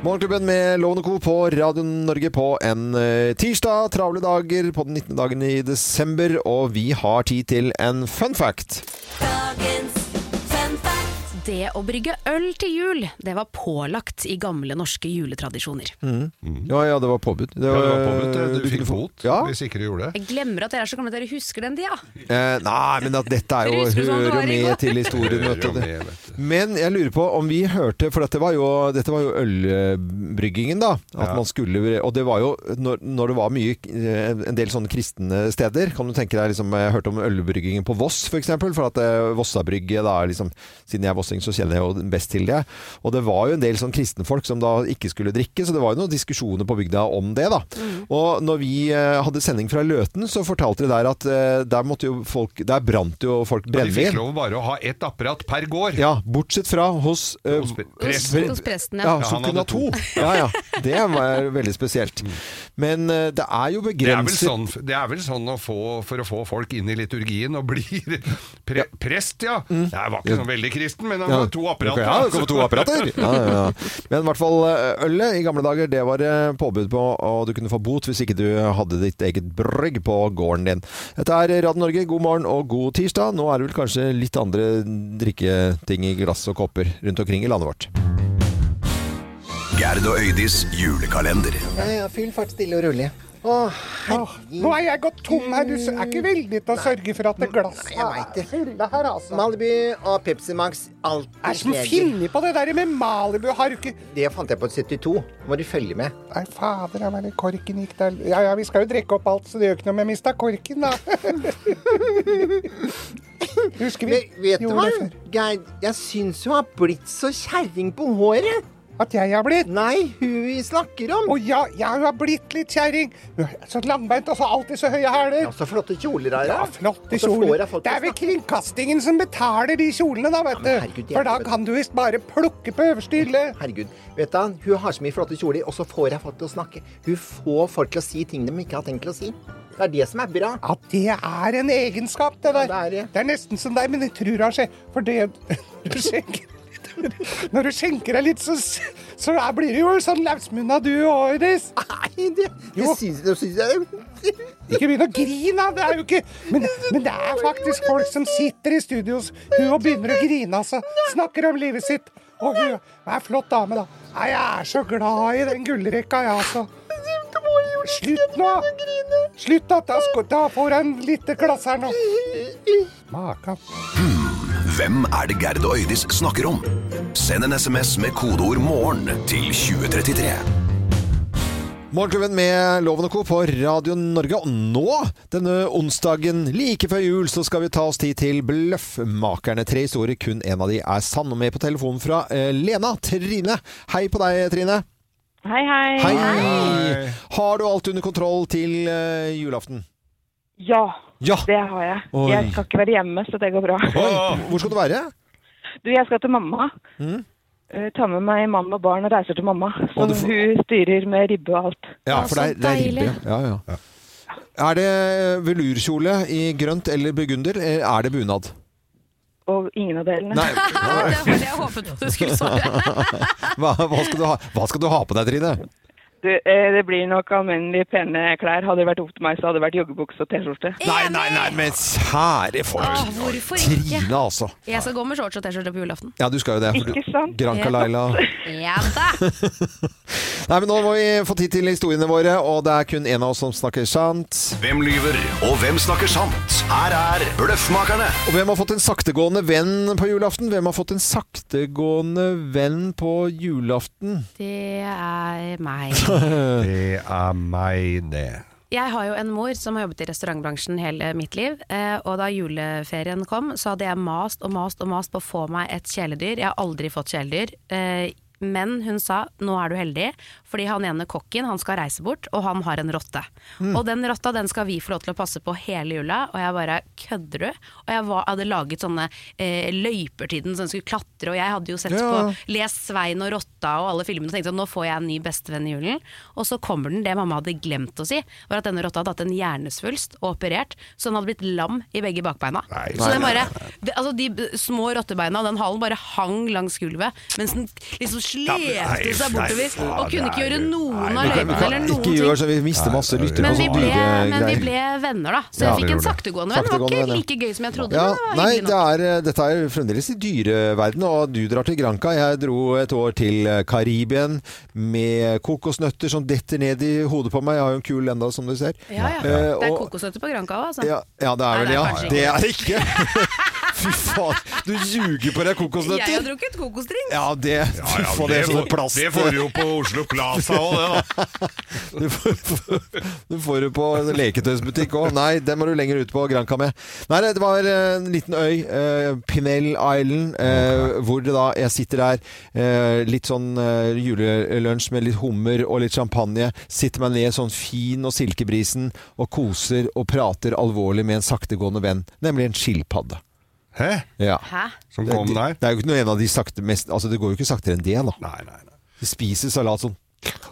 Speaker 1: Morgenklubben med Lovende Co. på Radio Norge på en eh, tirsdag. Travle dager på den 19. dagen i desember, og vi har tid til en fun fact.
Speaker 3: Det å brygge øl til jul, det var pålagt i gamle norske juletradisjoner.
Speaker 1: Ja, ja, det var påbud. Det
Speaker 2: Ja,
Speaker 1: var,
Speaker 2: det var påbudt. Du fikk
Speaker 1: kunne få-
Speaker 2: bot
Speaker 1: Ja.
Speaker 2: hvis ikke du gjorde det.
Speaker 3: Jeg glemmer at dere er så gamle at dere husker den tida.
Speaker 1: Eh, nei, men at dette er jo,
Speaker 3: Husker du sånn det
Speaker 1: hører jo
Speaker 3: var i går?
Speaker 1: med til historien.
Speaker 2: Hører
Speaker 1: Vet
Speaker 2: jo
Speaker 1: du. det.
Speaker 2: med, vet du.
Speaker 1: Men jeg lurer på om vi hørte For dette var jo, dette var jo ølbryggingen, da. At
Speaker 2: Ja.
Speaker 1: man skulle Og det var jo når, når det var mye eh, En del sånne kristne steder. Kan du tenke deg liksom Jeg hørte om ølbryggingen på Voss, f.eks. For, eksempel, for at eh, Vossabrygget da er liksom Siden jeg er vossing, så kjenner jeg jo best til det. Og det var jo en del sånn kristne folk som da ikke skulle drikke, så det var jo noen diskusjoner på bygda om det, da. Og når vi eh, hadde sending fra Løten, så fortalte de der at eh, der måtte jo folk Der brant jo folk
Speaker 2: De fikk
Speaker 1: brennevin.
Speaker 2: lov bare å ha ett apparat per gård.
Speaker 1: Ja, bortsett fra hos, eh,
Speaker 2: Hos presten.
Speaker 1: pre-
Speaker 9: Hos presten, ja.
Speaker 1: ja, som
Speaker 2: han
Speaker 1: kunne ha
Speaker 2: hadde
Speaker 1: to. Ja, ja. Det var veldig spesielt. Men eh, det er jo
Speaker 2: Det er, vel
Speaker 1: begrenset
Speaker 2: sånn, det er vel sånn å få, for å få folk inn i liturgien og bli [laughs] pre, prest, ja. Jeg var ikke sånn veldig kristen, men han
Speaker 1: Mm. Ja.
Speaker 2: var to apparater.
Speaker 1: Ja, det kom
Speaker 2: [laughs]
Speaker 1: to apparater. Ja, ja, ja. Men i hvert fall eh, ølet i gamle dager, det var eh, påbud på, og du kunne få bot hvis ikke du hadde ditt eget brygg på gården din. Dette er Radio Norge, god morgen og god tirsdag. Nå er det vel kanskje litt andre drikketing i glass og kopper rundt omkring i landet vårt.
Speaker 4: Gerd og Øydis julekalender.
Speaker 5: Jeg er full fart stille og rolig. Å,
Speaker 6: Nå er jeg gått tom her. Du s- er ikke villig til å sørge for at det glasset
Speaker 5: jeg vet det.
Speaker 6: er fulle her, altså.
Speaker 5: Malibu og Pepsi Max, alt
Speaker 6: Hva er det som
Speaker 5: skjer.
Speaker 6: finner på det der med Malibu? Har du ikke
Speaker 5: Det fant jeg på 72. Må du følge med.
Speaker 6: Nei, fader, jeg mener, korken gikk der Ja ja, vi skal jo drikke opp alt, så det gjør ikke noe om jeg mista korken,
Speaker 5: [laughs]
Speaker 6: da. Husker vi
Speaker 5: Men vet du
Speaker 6: gjorde
Speaker 5: hva,
Speaker 6: det før?
Speaker 5: Geir? Jeg syns hun har blitt så kjerring på håret.
Speaker 6: At jeg har blitt
Speaker 5: Nei, hun vi snakker om.
Speaker 6: Å ja, ja, hun har blitt litt kjerring. Hun er Så langbeint og så alltid så høye hæler.
Speaker 5: Ja, så flotte kjoler har
Speaker 6: Ja,
Speaker 5: jeg.
Speaker 6: flotte
Speaker 5: Og så får
Speaker 6: kjoler.
Speaker 5: jeg folk
Speaker 6: Det
Speaker 5: til å
Speaker 6: er vel
Speaker 5: snakke.
Speaker 6: kringkastingen som betaler de kjolene, da, vet
Speaker 5: Ja,
Speaker 6: du.
Speaker 5: men herregud,
Speaker 6: For da
Speaker 5: hjelpe.
Speaker 6: kan du visst bare plukke på øverste hylle.
Speaker 5: Herregud, vet du, hun har så mye flotte kjoler, og så får jeg folk til å snakke. Hun får folk til å si ting de ikke har tenkt til å si. Det er det som er bra.
Speaker 6: Ja, det er en egenskap, det
Speaker 5: Ja,
Speaker 6: der.
Speaker 5: det er det.
Speaker 6: Det er nesten som deg, men jeg tror han skjer. For det [laughs] når du skjenker Når du skjenker deg litt, så, så er- blir du jo sånn løsmunna du òg, Iris.
Speaker 5: Nei, det, det
Speaker 6: Jo.
Speaker 5: syns det syns jeg [laughs]
Speaker 6: Ikke begynn å grine, det er jo ikke men, men det er faktisk folk som sitter i studios hun og begynner å grine, altså. Snakker om livet sitt. Og hun er flott dame, da. Nei, jeg er så glad i den gullrekka, jeg, altså. Slutt nå! Slutt, da. Da skal- Da får jeg en lite glass her nå. Makan.
Speaker 4: Hvem er det Gerd og Øydis snakker om? Send en sms med kodeord 'morgen' til 2033.
Speaker 1: Morgenklubben med Loven og Co. på Radio Norge. Og nå, denne onsdagen like før jul, så skal vi ta oss tid til Bløffmakerne. Tre historier, kun én av de er sann. Og med på telefonen fra eh, Lena Trine. Hei på deg, Trine.
Speaker 10: Hei, hei.
Speaker 2: Hei.
Speaker 1: Har du alt under kontroll til eh, julaften?
Speaker 10: Ja,
Speaker 1: Ja.
Speaker 10: det har jeg.
Speaker 1: Oi.
Speaker 10: Jeg skal ikke være hjemme, så det går bra.
Speaker 1: Oi, hvor skal du være?
Speaker 10: Du, jeg skal til mamma.
Speaker 1: Mm.
Speaker 10: Eh, Ta med meg mann og barn og reiser til mamma,
Speaker 1: Og
Speaker 10: som
Speaker 1: du får-
Speaker 10: hun styrer med ribbe og alt.
Speaker 1: Ja,
Speaker 3: Ja,
Speaker 1: for det er,
Speaker 3: så
Speaker 1: det er
Speaker 3: deilig.
Speaker 1: ribbe. Ja, ja. ja. Er det velurkjole i grønt eller burgunder? eller Er det bunad?
Speaker 10: Og ingen av delene.
Speaker 1: Nei,
Speaker 9: Det var det jeg håpet at du skulle svare.
Speaker 1: hva, hva, skal du ha, hva skal du ha på deg, Trine?
Speaker 10: Du, eh, det blir nok alminnelig pene klær. Hadde det vært opp til meg, så hadde det vært joggebukse og T-skjorte.
Speaker 1: Nei, nei, nei, men kjære
Speaker 3: Ah,
Speaker 1: folk.
Speaker 3: hvorfor ikke?
Speaker 1: Trine, altså.
Speaker 3: Jeg skal gå med shorts og T-skjorte på julaften.
Speaker 1: Ja, du skal jo det. for du-
Speaker 10: Ikke sant?
Speaker 1: Granca Laila.
Speaker 3: Ja da!
Speaker 1: Nei, men nå må vi få tid til historiene våre, og det er kun én av oss som snakker sant.
Speaker 4: Hvem lyver, og hvem snakker sant? Her er Bløffmakerne!
Speaker 1: Og hvem har fått en saktegående venn på julaften? Hvem har fått en saktegående venn på julaften?
Speaker 3: [laughs] Det er meg.
Speaker 2: Det er meg,
Speaker 1: [laughs]
Speaker 2: det.
Speaker 3: Jeg har jo en mor som har jobbet i restaurantbransjen hele mitt liv, eh, og da juleferien kom, så hadde jeg mast og mast og mast på å få meg et kjæledyr. Jeg har aldri fått kjæledyr. eh, Men hun sa nå er du heldig, fordi han ene kokken han skal reise bort, og han har en rotte. Og den rotta den skal vi få lov til å passe på hele jula, og jeg bare kødder du? Og jeg var, hadde laget sånne eh, løyper til den, så den skulle klatre, og jeg hadde jo sett
Speaker 1: Ja.
Speaker 3: på lest Svein og Rotta og alle filmene og tenkte at nå får jeg en ny bestevenn i julen. Og så kommer den, det mamma hadde glemt å si, var at denne rotta hadde hatt en hjernesvulst og operert, så den hadde blitt lam i begge bakbeina. så den bare, det, altså de b- små rottebeina og den halen bare hang langs gulvet, mens den liksom slepte seg bortover og kunne ikke gjøre noen av løypene eller noen
Speaker 1: Ikke sånn- gjør
Speaker 3: ting.
Speaker 1: så vi mister masse lyttere på
Speaker 3: Men vi,
Speaker 1: sånne
Speaker 3: ble, men vi
Speaker 1: dyregreier.
Speaker 3: ble venner, da. Så
Speaker 1: eh, Ja,
Speaker 3: jeg
Speaker 2: vi
Speaker 3: fikk en
Speaker 2: gjorde
Speaker 3: saktegående venn. Det var
Speaker 1: Saktegående venn,
Speaker 3: ikke
Speaker 1: ja.
Speaker 3: like gøy som jeg trodde.
Speaker 1: Ja,
Speaker 3: men det var
Speaker 1: nei,
Speaker 3: hyggelig
Speaker 1: det
Speaker 3: nok.
Speaker 1: er, eh, dette er jo fremdeles i dyreverden, og du drar til Granca. Jeg dro et år til eh, Karibien med kokosnøtter som detter ned i hodet på meg. Jeg har jo en kul enda, som du ser.
Speaker 3: Ja, ja.
Speaker 1: Eh,
Speaker 3: Det er
Speaker 1: og-
Speaker 3: kokosnøtter på Granca òg, altså.
Speaker 1: Ja, ja det
Speaker 3: Nei,
Speaker 1: er vel
Speaker 3: det er
Speaker 1: ja.
Speaker 3: kanskje ikke.
Speaker 1: Det er det ikke. [laughs] Fy faen, du ljuger på deg
Speaker 3: Jeg har
Speaker 1: kokosnøtter.
Speaker 3: drukket kokosdrink.
Speaker 1: Ja, det Fy faen, det er sånn plast.
Speaker 2: det får du jo på Oslo Plaza òg, det,
Speaker 1: [laughs]
Speaker 2: da.
Speaker 1: Du får, du får det på en leketøysbutikk òg. Nei, den må du lenger ut på Granca med. Nei, det var eh, en liten øy, eh, Pinell Island, eh, hvor det da jeg sitter der, eh, litt sånn eh, julelunsj med litt hummer og litt champagne, sitter meg ned sånn fin og silkebrisen og koser og prater alvorlig med en saktegående venn, nemlig en skilpadde.
Speaker 2: Hæ?
Speaker 1: Ja.
Speaker 3: Hæ?
Speaker 2: Som
Speaker 1: Det,
Speaker 2: kom
Speaker 1: det,
Speaker 2: der?
Speaker 1: det er jo ikke noe en av de sakte mest Altså, det går jo ikke saktere enn det, da.
Speaker 2: Nei, nei, nei.
Speaker 1: De spiser salat sånn.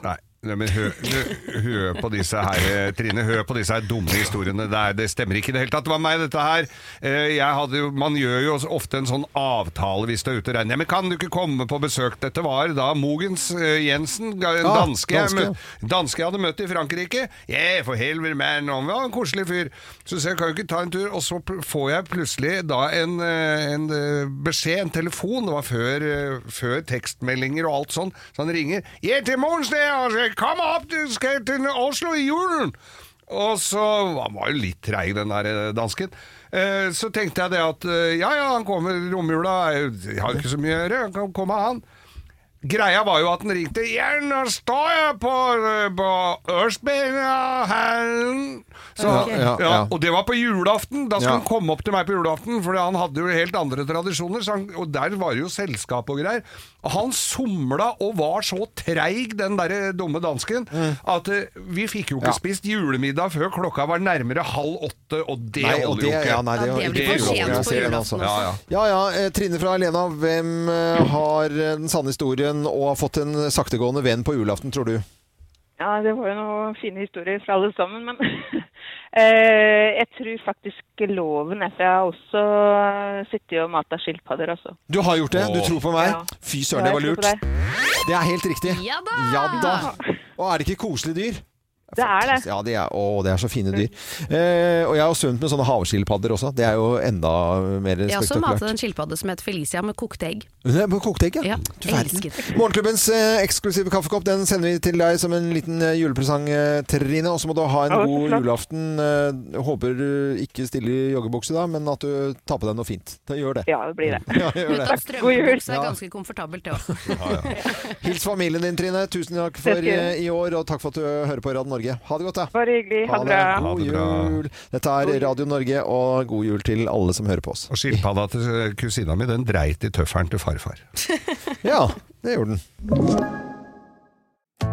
Speaker 2: Nei, nei, men hør, hø- hør på disse her, eh, Trine, hør på disse her dumme historiene. Det, er, det stemmer ikke i det hele tatt. Det var meg, dette her. Eh, Jeg hadde, jo- man gjør jo også ofte en sånn avtale hvis du er ute og regner. Ja, men kan du ikke komme på besøk? Dette var da Mogens eh, Jensen, ga- en
Speaker 1: Ah,
Speaker 2: danske, jeg
Speaker 1: danske, ja.
Speaker 2: møtte- danske jeg hadde møtt i Frankrike. Yeah, for helvete, man. Han var en koselig fyr. Så sier jeg, kan du ikke ta en tur? Og så pl- får jeg plutselig da en, eh, en eh, beskjed, en telefon, det var før, eh, før tekstmeldinger og alt sånn, så han ringer. «Ja, til Mogens, det, altså, Kom opp, du skal til Oslo i julen! Og så Han var jo litt treig, den der eh, dansken. Eh, Så tenkte jeg det at eh, ja ja, han kommer i romjula, jeg har jo ikke så mye å gjøre, han kan komme, han. Greia var jo at den ringte igjen, og står jeg på, eh, på Østberghallen. Så,
Speaker 1: Ja, ja, ja.
Speaker 2: Og det var på julaften. Da skulle
Speaker 1: Ja.
Speaker 2: han komme opp til meg på julaften, for han hadde jo helt andre tradisjoner, så han, og der var det jo selskap og greier. Og han somla og var så treig, den derre dumme dansken, at eh, vi fikk jo
Speaker 1: Mm.
Speaker 2: ikke
Speaker 1: Ja.
Speaker 2: spist julemiddag før klokka var nærmere halv åtte, og det
Speaker 1: Nei, og
Speaker 2: holder
Speaker 1: det-
Speaker 2: jo ikke.
Speaker 1: ja, nei, det- Ja, det blir for sent på julaften
Speaker 2: Ja, ja.
Speaker 1: Ja ja, eh, Trine fra Helena, hvem eh, har den sanne historien og har fått en saktegående venn på julaften, tror du?
Speaker 10: Ja, det var jo noen fine historier fra alle sammen, men [laughs] eh, jeg tror faktisk loven er for jeg har også eh, sittet og mata skilpadder, altså.
Speaker 1: Du har gjort det, du
Speaker 2: Åh.
Speaker 1: tror på meg?
Speaker 10: Ja.
Speaker 1: Fy søren,
Speaker 10: Ja,
Speaker 1: det var
Speaker 10: jeg tror
Speaker 1: lurt.
Speaker 10: på
Speaker 1: Det er helt riktig.
Speaker 10: Ja da!
Speaker 1: Og er det ikke koselige dyr?
Speaker 10: Det er det.
Speaker 1: Ja, de er, å, det er så fine dyr. Eh, og jeg har svømt med sånne havskilpadder også. Det er jo enda mer
Speaker 3: Jeg har også matet en
Speaker 1: spektakulært.
Speaker 3: skilpadde som het Felicia med kokte egg.
Speaker 1: Det er på kokte egg,
Speaker 3: Ja,
Speaker 1: Du verden.
Speaker 3: elsket.
Speaker 1: Morgenklubbens eh, eksklusive kaffekopp den sender vi til deg som en liten eh, julepresang, eh, Trine. Og så må du ha en
Speaker 10: Ja, så
Speaker 1: god
Speaker 10: flott.
Speaker 1: julaften. Eh, håper du ikke stiller i joggebukse da, men at du tar på deg noe fint. Da gjør det.
Speaker 10: Ja, det blir det.
Speaker 1: Ja, gjør det.
Speaker 3: Uten strømpebukse er
Speaker 1: Ja.
Speaker 3: ganske komfortabelt det også.
Speaker 1: Hils familien din, Trine. Tusen takk for
Speaker 10: Det skal jeg
Speaker 1: eh, i år, og takk for at du hører på Radio Norge. Ha det godt, da.
Speaker 10: Bare hyggelig. Ha det bra.
Speaker 1: God
Speaker 2: Ha det bra.
Speaker 1: jul. Dette er Radio Norge, og god jul til alle som hører på
Speaker 10: [laughs]
Speaker 1: oss.
Speaker 2: Og skilpadda til eh, kusina mi, den dreit i tøffelen til farfar.
Speaker 1: Ja, det gjorde den.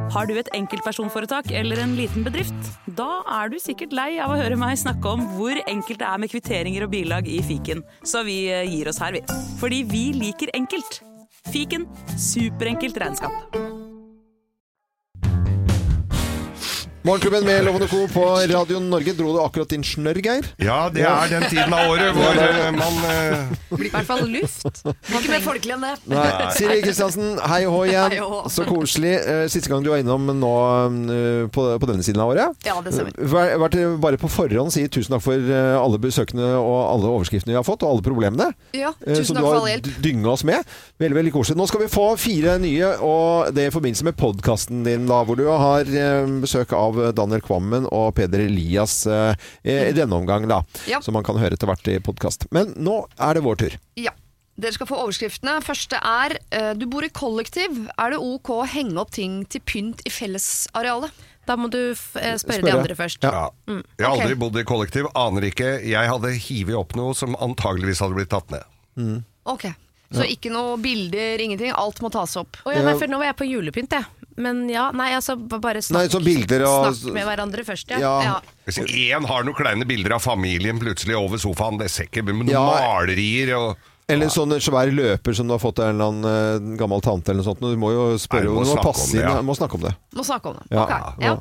Speaker 11: Har du et enkeltpersonforetak eller en liten bedrift? Da er du sikkert lei av å høre meg snakke om hvor enkelt det er med kvitteringer og bilag i fiken, så vi eh, gir oss her, vi. Fordi vi liker enkelt. Fiken superenkelt regnskap.
Speaker 1: Morgenklubben med Lovende Co. på Radio Norge. Dro du akkurat din snørr, Geir?
Speaker 2: Ja, det er den tiden av året hvor eh, man eh,
Speaker 9: I hvert fall luft. Blir ikke mer folkelig enn det.
Speaker 1: Nei. [laughs] Siri Kristiansen, hei og hå igjen.
Speaker 9: Hei og hå.
Speaker 1: Så koselig. Eh, Siste gang du var innom nå eh, på, på denne siden av året. Eh,
Speaker 9: Ja, det stemmer.
Speaker 1: Vær, vært bare på forhånd si tusen takk for eh, alle besøkene og alle overskriftene vi har fått, og alle problemene.
Speaker 9: Ja,
Speaker 1: Eh,
Speaker 9: tusen
Speaker 1: Som du
Speaker 9: takk for
Speaker 1: har
Speaker 9: all hjelp.
Speaker 1: d- dynga oss med. Veldig veldig koselig. Nå skal vi få fire nye, og det i forbindelse med podkasten din, da, hvor du har eh, besøk av Daniel Kvammen og Peder Elias eh, i denne omgang, da.
Speaker 9: Ja.
Speaker 1: Som man kan høre etter hvert i podkast. Men nå er det vår tur.
Speaker 9: Ja. Dere skal få overskriftene. Første er eh, du bor i kollektiv. Er det ok å henge opp ting til pynt i fellesarealet?
Speaker 3: Da må du f eh, spørre de
Speaker 1: Spørre.
Speaker 3: andre først.
Speaker 1: Ja.
Speaker 2: Jeg har
Speaker 9: Mm, ok.
Speaker 2: aldri bodd i kollektiv, aner ikke. Jeg hadde hivet opp noe som antageligvis hadde blitt tatt ned.
Speaker 9: Ok. Så ikke noe bilder, ingenting. Alt må tas opp.
Speaker 3: Å ja, nei, for nå var jeg på julepynt, jeg. Men ja, nei, altså b- bare
Speaker 1: Nei,
Speaker 3: snakk,
Speaker 1: så bilder og
Speaker 3: snakk med hverandre først, ja.
Speaker 1: Ja.
Speaker 3: ja.
Speaker 2: Hvis én har noen kleine bilder av familien plutselig over sofaen, det ser ikke Men noen
Speaker 1: Ja.
Speaker 2: malerier og
Speaker 1: Eller sånn svær løper som du har fått av en eller annen eh, gammel tante eller noe sånt. Du må jo
Speaker 2: Nei,
Speaker 1: spørre
Speaker 2: du må
Speaker 1: du må
Speaker 2: snakke om
Speaker 1: passe
Speaker 2: det,
Speaker 1: inn.
Speaker 2: ja.
Speaker 1: Du må snakke om det.
Speaker 9: Må snakke om det.
Speaker 1: Ja,
Speaker 9: Ok,
Speaker 1: ja.
Speaker 9: ja.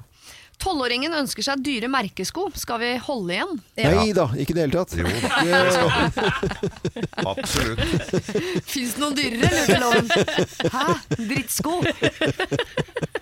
Speaker 9: Tolvåringen ønsker seg dyre merkesko. Skal vi holde igjen?
Speaker 1: Nei da, ikke i det hele tatt.
Speaker 2: Jo da, [laughs] det skal du.
Speaker 1: [laughs]
Speaker 2: Absolutt.
Speaker 9: Fins det noen dyrere, lurte loven. [laughs] Hæ? Drittsko?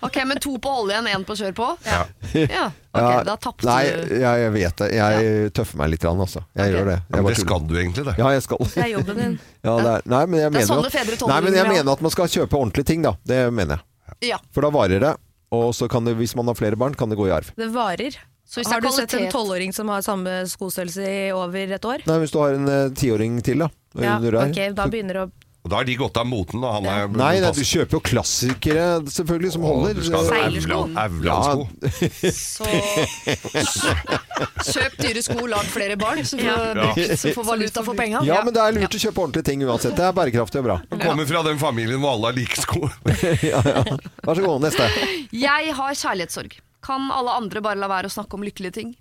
Speaker 9: Ok, men to på holde igjen, én på kjør på?
Speaker 2: Ja.
Speaker 1: [laughs]
Speaker 9: Ja, ok,
Speaker 1: Ja,
Speaker 9: da tapte
Speaker 1: Nei,
Speaker 9: du.
Speaker 1: jeg, jeg vet det. Jeg tøffer meg litt, grann, altså. Jeg gjør det. Jeg
Speaker 2: Men
Speaker 1: bare
Speaker 2: det
Speaker 1: tuller.
Speaker 2: skal du egentlig, det.
Speaker 1: Ja, jeg skal.
Speaker 3: Det er jobben din.
Speaker 1: Ja, det er, nei, men jeg
Speaker 9: Det er
Speaker 1: mener
Speaker 9: sånne
Speaker 1: at,
Speaker 9: fedre tåler
Speaker 1: nei, men jeg
Speaker 9: mindre, ja.
Speaker 1: mener at man skal kjøpe ordentlige ting, da. Det mener jeg.
Speaker 9: Ja.
Speaker 1: For da varer det. Og så kan det, hvis man har flere barn, kan det gå i arv.
Speaker 3: Det varer.
Speaker 9: Så hvis det
Speaker 3: har
Speaker 9: er
Speaker 3: du sett en
Speaker 9: kvalitet-
Speaker 3: tolvåring som har samme skostørrelse i over et år?
Speaker 1: Nei, hvis du har en eh, tiåring til, da.
Speaker 3: Ja,
Speaker 1: under der.
Speaker 3: ok, da begynner
Speaker 1: [laughs]
Speaker 3: det å
Speaker 2: Og da har de gått av moten, og han er
Speaker 1: Nei, nei, du kjøper jo klassikere, selvfølgelig, som
Speaker 2: Å,
Speaker 1: holder. Eh,
Speaker 2: Du skal ha
Speaker 9: Seilersko.
Speaker 2: Aurland- Aurlandsko.
Speaker 9: Så kjøp dyre sko, lag flere barn, så får, så får valuta for penga.
Speaker 1: Ja, men det er lurt å kjøpe ordentlige ting uansett. Det er bærekraftig og bra.
Speaker 2: Kommer fra den familien hvor alle har like sko.
Speaker 1: Vær så god, neste.
Speaker 9: [laughs] Jeg har kjærlighetssorg. Kan alle andre bare la være å snakke om lykkelige ting?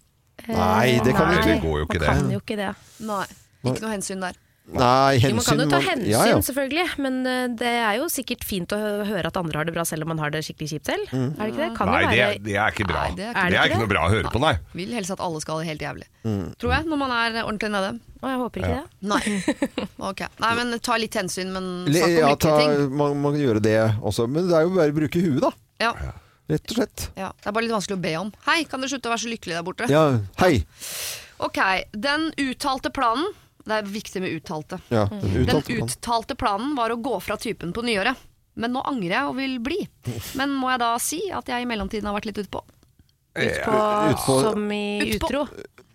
Speaker 1: Nei, det kan
Speaker 2: Nei,
Speaker 1: du
Speaker 2: det går jo ikke,
Speaker 3: Man
Speaker 2: det.
Speaker 3: kan jo ikke det.
Speaker 9: Nei. Ikke noe hensyn der.
Speaker 1: Nei, hensyn
Speaker 3: Jo, man kan jo ta
Speaker 1: man-
Speaker 3: hensyn,
Speaker 1: Ja, ja.
Speaker 3: selvfølgelig. Men eh, det er jo sikkert fint å hø- høre at andre har det bra, selv om man har det skikkelig kjipt selv.
Speaker 1: Mm.
Speaker 3: Er det ikke det? Kan
Speaker 2: Nei,
Speaker 3: jo
Speaker 2: det,
Speaker 3: være
Speaker 2: det er ikke bra.
Speaker 9: Nei, det er ikke-
Speaker 2: Det er ikke noe bra å høre på, nei.
Speaker 9: Vil helst at alle skal ha det helt jævlig.
Speaker 1: Mm.
Speaker 9: Tror jeg, når man er ordentlig nede.
Speaker 3: Å, jeg håper ikke det. [laughs]
Speaker 9: Nei. Ok. Nei, men ta litt hensyn, men
Speaker 1: Le-
Speaker 9: snakk om
Speaker 1: Ja, ta,
Speaker 9: lykkelige ting.
Speaker 1: man, man kan gjøre det også. Men det er jo bare å bruke huet, da.
Speaker 9: Ja.
Speaker 1: Rett og slett.
Speaker 9: Ja, Det er bare litt vanskelig å be om. Hei, kan dere slutte å være så lykkelig der borte?
Speaker 1: Ja, hei.
Speaker 9: Ok, Den uttalte planen Det er viktig med uttalte.
Speaker 1: Ja, den
Speaker 9: Mm. Den
Speaker 1: uttalte man.
Speaker 9: uttalte planen var å gå fra typen på nyåret. Men nå angrer jeg og vil bli. Men må jeg da si at jeg i mellomtiden har vært litt utpå?
Speaker 2: Ja. Utpå-
Speaker 3: som i utro?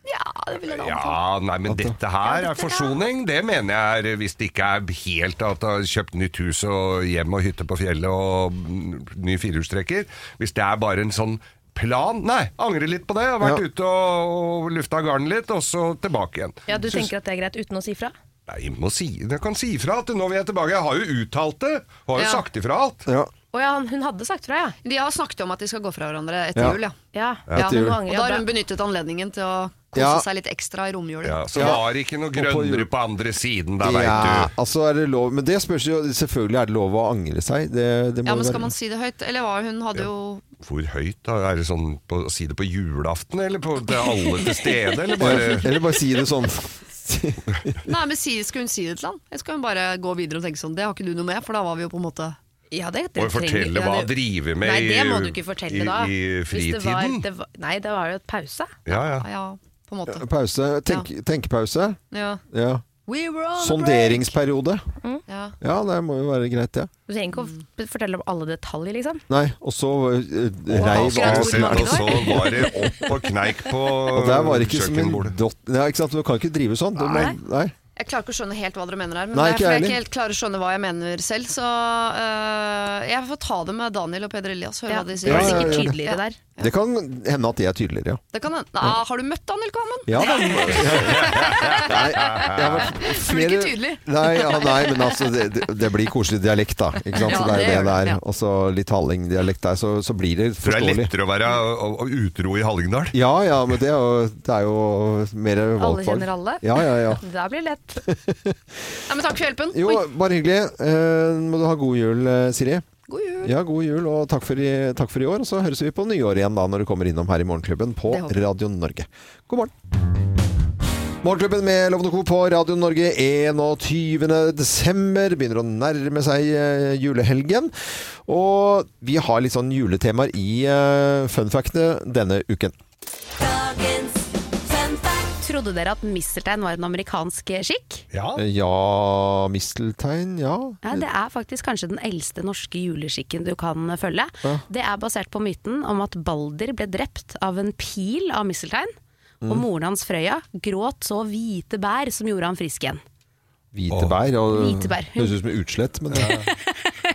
Speaker 9: Ja, det vil jeg da anbefale.
Speaker 2: Ja, nei, men dette her er forsoning. Det mener jeg er hvis det ikke er helt at du har kjøpt nytt hus og hjem og hytte på fjellet og mm, ny firehjulstrekker. Hvis det er bare en sånn plan Nei, angre litt på det. Jeg har vært ute og, og lufta garden litt, og så tilbake igjen.
Speaker 3: Ja, du
Speaker 2: Syns-
Speaker 3: tenker at det er greit uten å si fra?
Speaker 2: Nei, må si, jeg kan si ifra at nå vil jeg tilbake. Jeg har jo uttalt det. Og har jo
Speaker 9: Ja.
Speaker 2: sagt ifra alt.
Speaker 3: Å ja, hun hadde sagt fra, ja.
Speaker 9: De har snakket om at de skal gå fra hverandre etter
Speaker 2: Ja.
Speaker 9: jul, ja.
Speaker 2: Ja, etter jul.
Speaker 9: Og da har hun benyttet anledningen til å kose
Speaker 1: Ja.
Speaker 9: seg litt ekstra i romjulen.
Speaker 2: Ja, så
Speaker 1: Ja.
Speaker 2: var det ikke noe grønnere på andre siden, da veit
Speaker 1: Ja,
Speaker 2: du.
Speaker 1: altså er det lov Men det spørs jo Selvfølgelig er det lov å angre seg. Det, det må
Speaker 9: Ja,
Speaker 1: jo
Speaker 9: men skal
Speaker 1: være-
Speaker 9: man si det høyt? Eller hva, hun hadde jo
Speaker 2: Hvor høyt da? Er det sånn på, si det på julaften, eller på til alle til stede, eller bare
Speaker 1: Eller bare si det sånn. [laughs]
Speaker 9: Nei, men si, Skulle hun si det til han? Eller skal hun bare gå videre og tenke sånn Det har ikke du noe med, for da var vi jo på en måte
Speaker 3: Ja, det,
Speaker 2: Og fortelle hva jeg driver med
Speaker 3: Nei, det må
Speaker 2: i-
Speaker 3: du ikke fortelle
Speaker 2: i-
Speaker 3: da.
Speaker 2: i
Speaker 3: Hvis det var-
Speaker 2: fritiden.
Speaker 3: Det var, nei, det var jo et pause.
Speaker 2: Ja, ja.
Speaker 9: på en måte.
Speaker 1: Pause. Tenk, Tenkepause.
Speaker 9: Ja.
Speaker 1: Ja.
Speaker 9: We were on a
Speaker 3: Sånn-
Speaker 1: Sonderingsperiode.
Speaker 3: Mm.
Speaker 1: Ja, det må jo være greit, det. Ja.
Speaker 3: Du trenger ikke å f- fortelle om alle detaljer, liksom.
Speaker 1: Nei, og så eh,
Speaker 2: Og
Speaker 1: reiv av
Speaker 2: så- og så var det opp og kneik på
Speaker 1: [laughs] Og der var det ikke som en
Speaker 2: kjøkkenbordet.
Speaker 1: dott... Ja, ikke sant, du kan ikke drive sånn. Du må,
Speaker 9: Nei.
Speaker 1: nei.
Speaker 9: Jeg klarer ikke å skjønne helt hva dere mener her. Men
Speaker 1: Nei, ikke
Speaker 9: det er fordi jeg
Speaker 1: jeg
Speaker 9: ikke
Speaker 1: heller.
Speaker 9: helt klarer å skjønne hva jeg mener selv. Så øh, jeg får ta det med Daniel og Peder Elias. Høre hva de sier.
Speaker 1: Ja, ja, ja.
Speaker 9: der.
Speaker 1: Det kan hende at det er tydeligere, ja.
Speaker 9: Det kan hende. Nei, har du møtt Daniel Kvammen?
Speaker 1: Ja,
Speaker 9: [laughs]
Speaker 1: da. Nei, jeg har vært
Speaker 9: Det blir
Speaker 1: flere-
Speaker 9: ikke tydelig.
Speaker 1: Nei, ja, nei men altså, det, det- det blir koselig dialekt, da. Ikke sant? Så
Speaker 9: Ja,
Speaker 1: det er jo
Speaker 9: det
Speaker 1: det
Speaker 9: gjør det,
Speaker 1: det
Speaker 9: ja.
Speaker 1: er. Og så litt hallingdialekt der, så, så blir det
Speaker 2: For det er
Speaker 1: forståelig.
Speaker 2: lettere å være å- å- utro i Hallingdal.
Speaker 1: Ja ja, men det er jo, det er jo mer valgfag.
Speaker 3: Alle kjenner alle.
Speaker 1: Ja, ja, ja.
Speaker 3: Det der blir lett.
Speaker 1: [laughs]
Speaker 9: Nei, men takk for hjelpen.
Speaker 1: Jo, bare hyggelig. Eh, må du ha god jul, eh, Siri.
Speaker 9: God jul.
Speaker 1: Ja, god jul, og takk for, i, takk for i år. Og så høres vi på nyåret igjen da, når du kommer innom her i Morgenklubben på
Speaker 9: Det håper jeg.
Speaker 1: Radio Norge. God morgen. Morgenklubben med Lovende Co. på Radio Norge 21. desember begynner å nærme seg eh, julehelgen. Og vi har litt sånn juletemaer i eh, funfactene denne uken.
Speaker 3: Trodde dere at misteltein var en amerikansk skikk?
Speaker 2: Ja.
Speaker 1: Ja, misteltein, ja.
Speaker 3: Ja, det er faktisk kanskje den eldste norske juleskikken du kan følge.
Speaker 1: Ja.
Speaker 3: Det er basert på myten om at Balder ble drept av en pil av misteltein. Og
Speaker 1: Mm.
Speaker 3: moren hans, Frøya, gråt så hvite bær som gjorde han frisk igjen.
Speaker 1: Hvite bær. Og,
Speaker 3: Hvite bær.
Speaker 1: Høres ut som utslett, men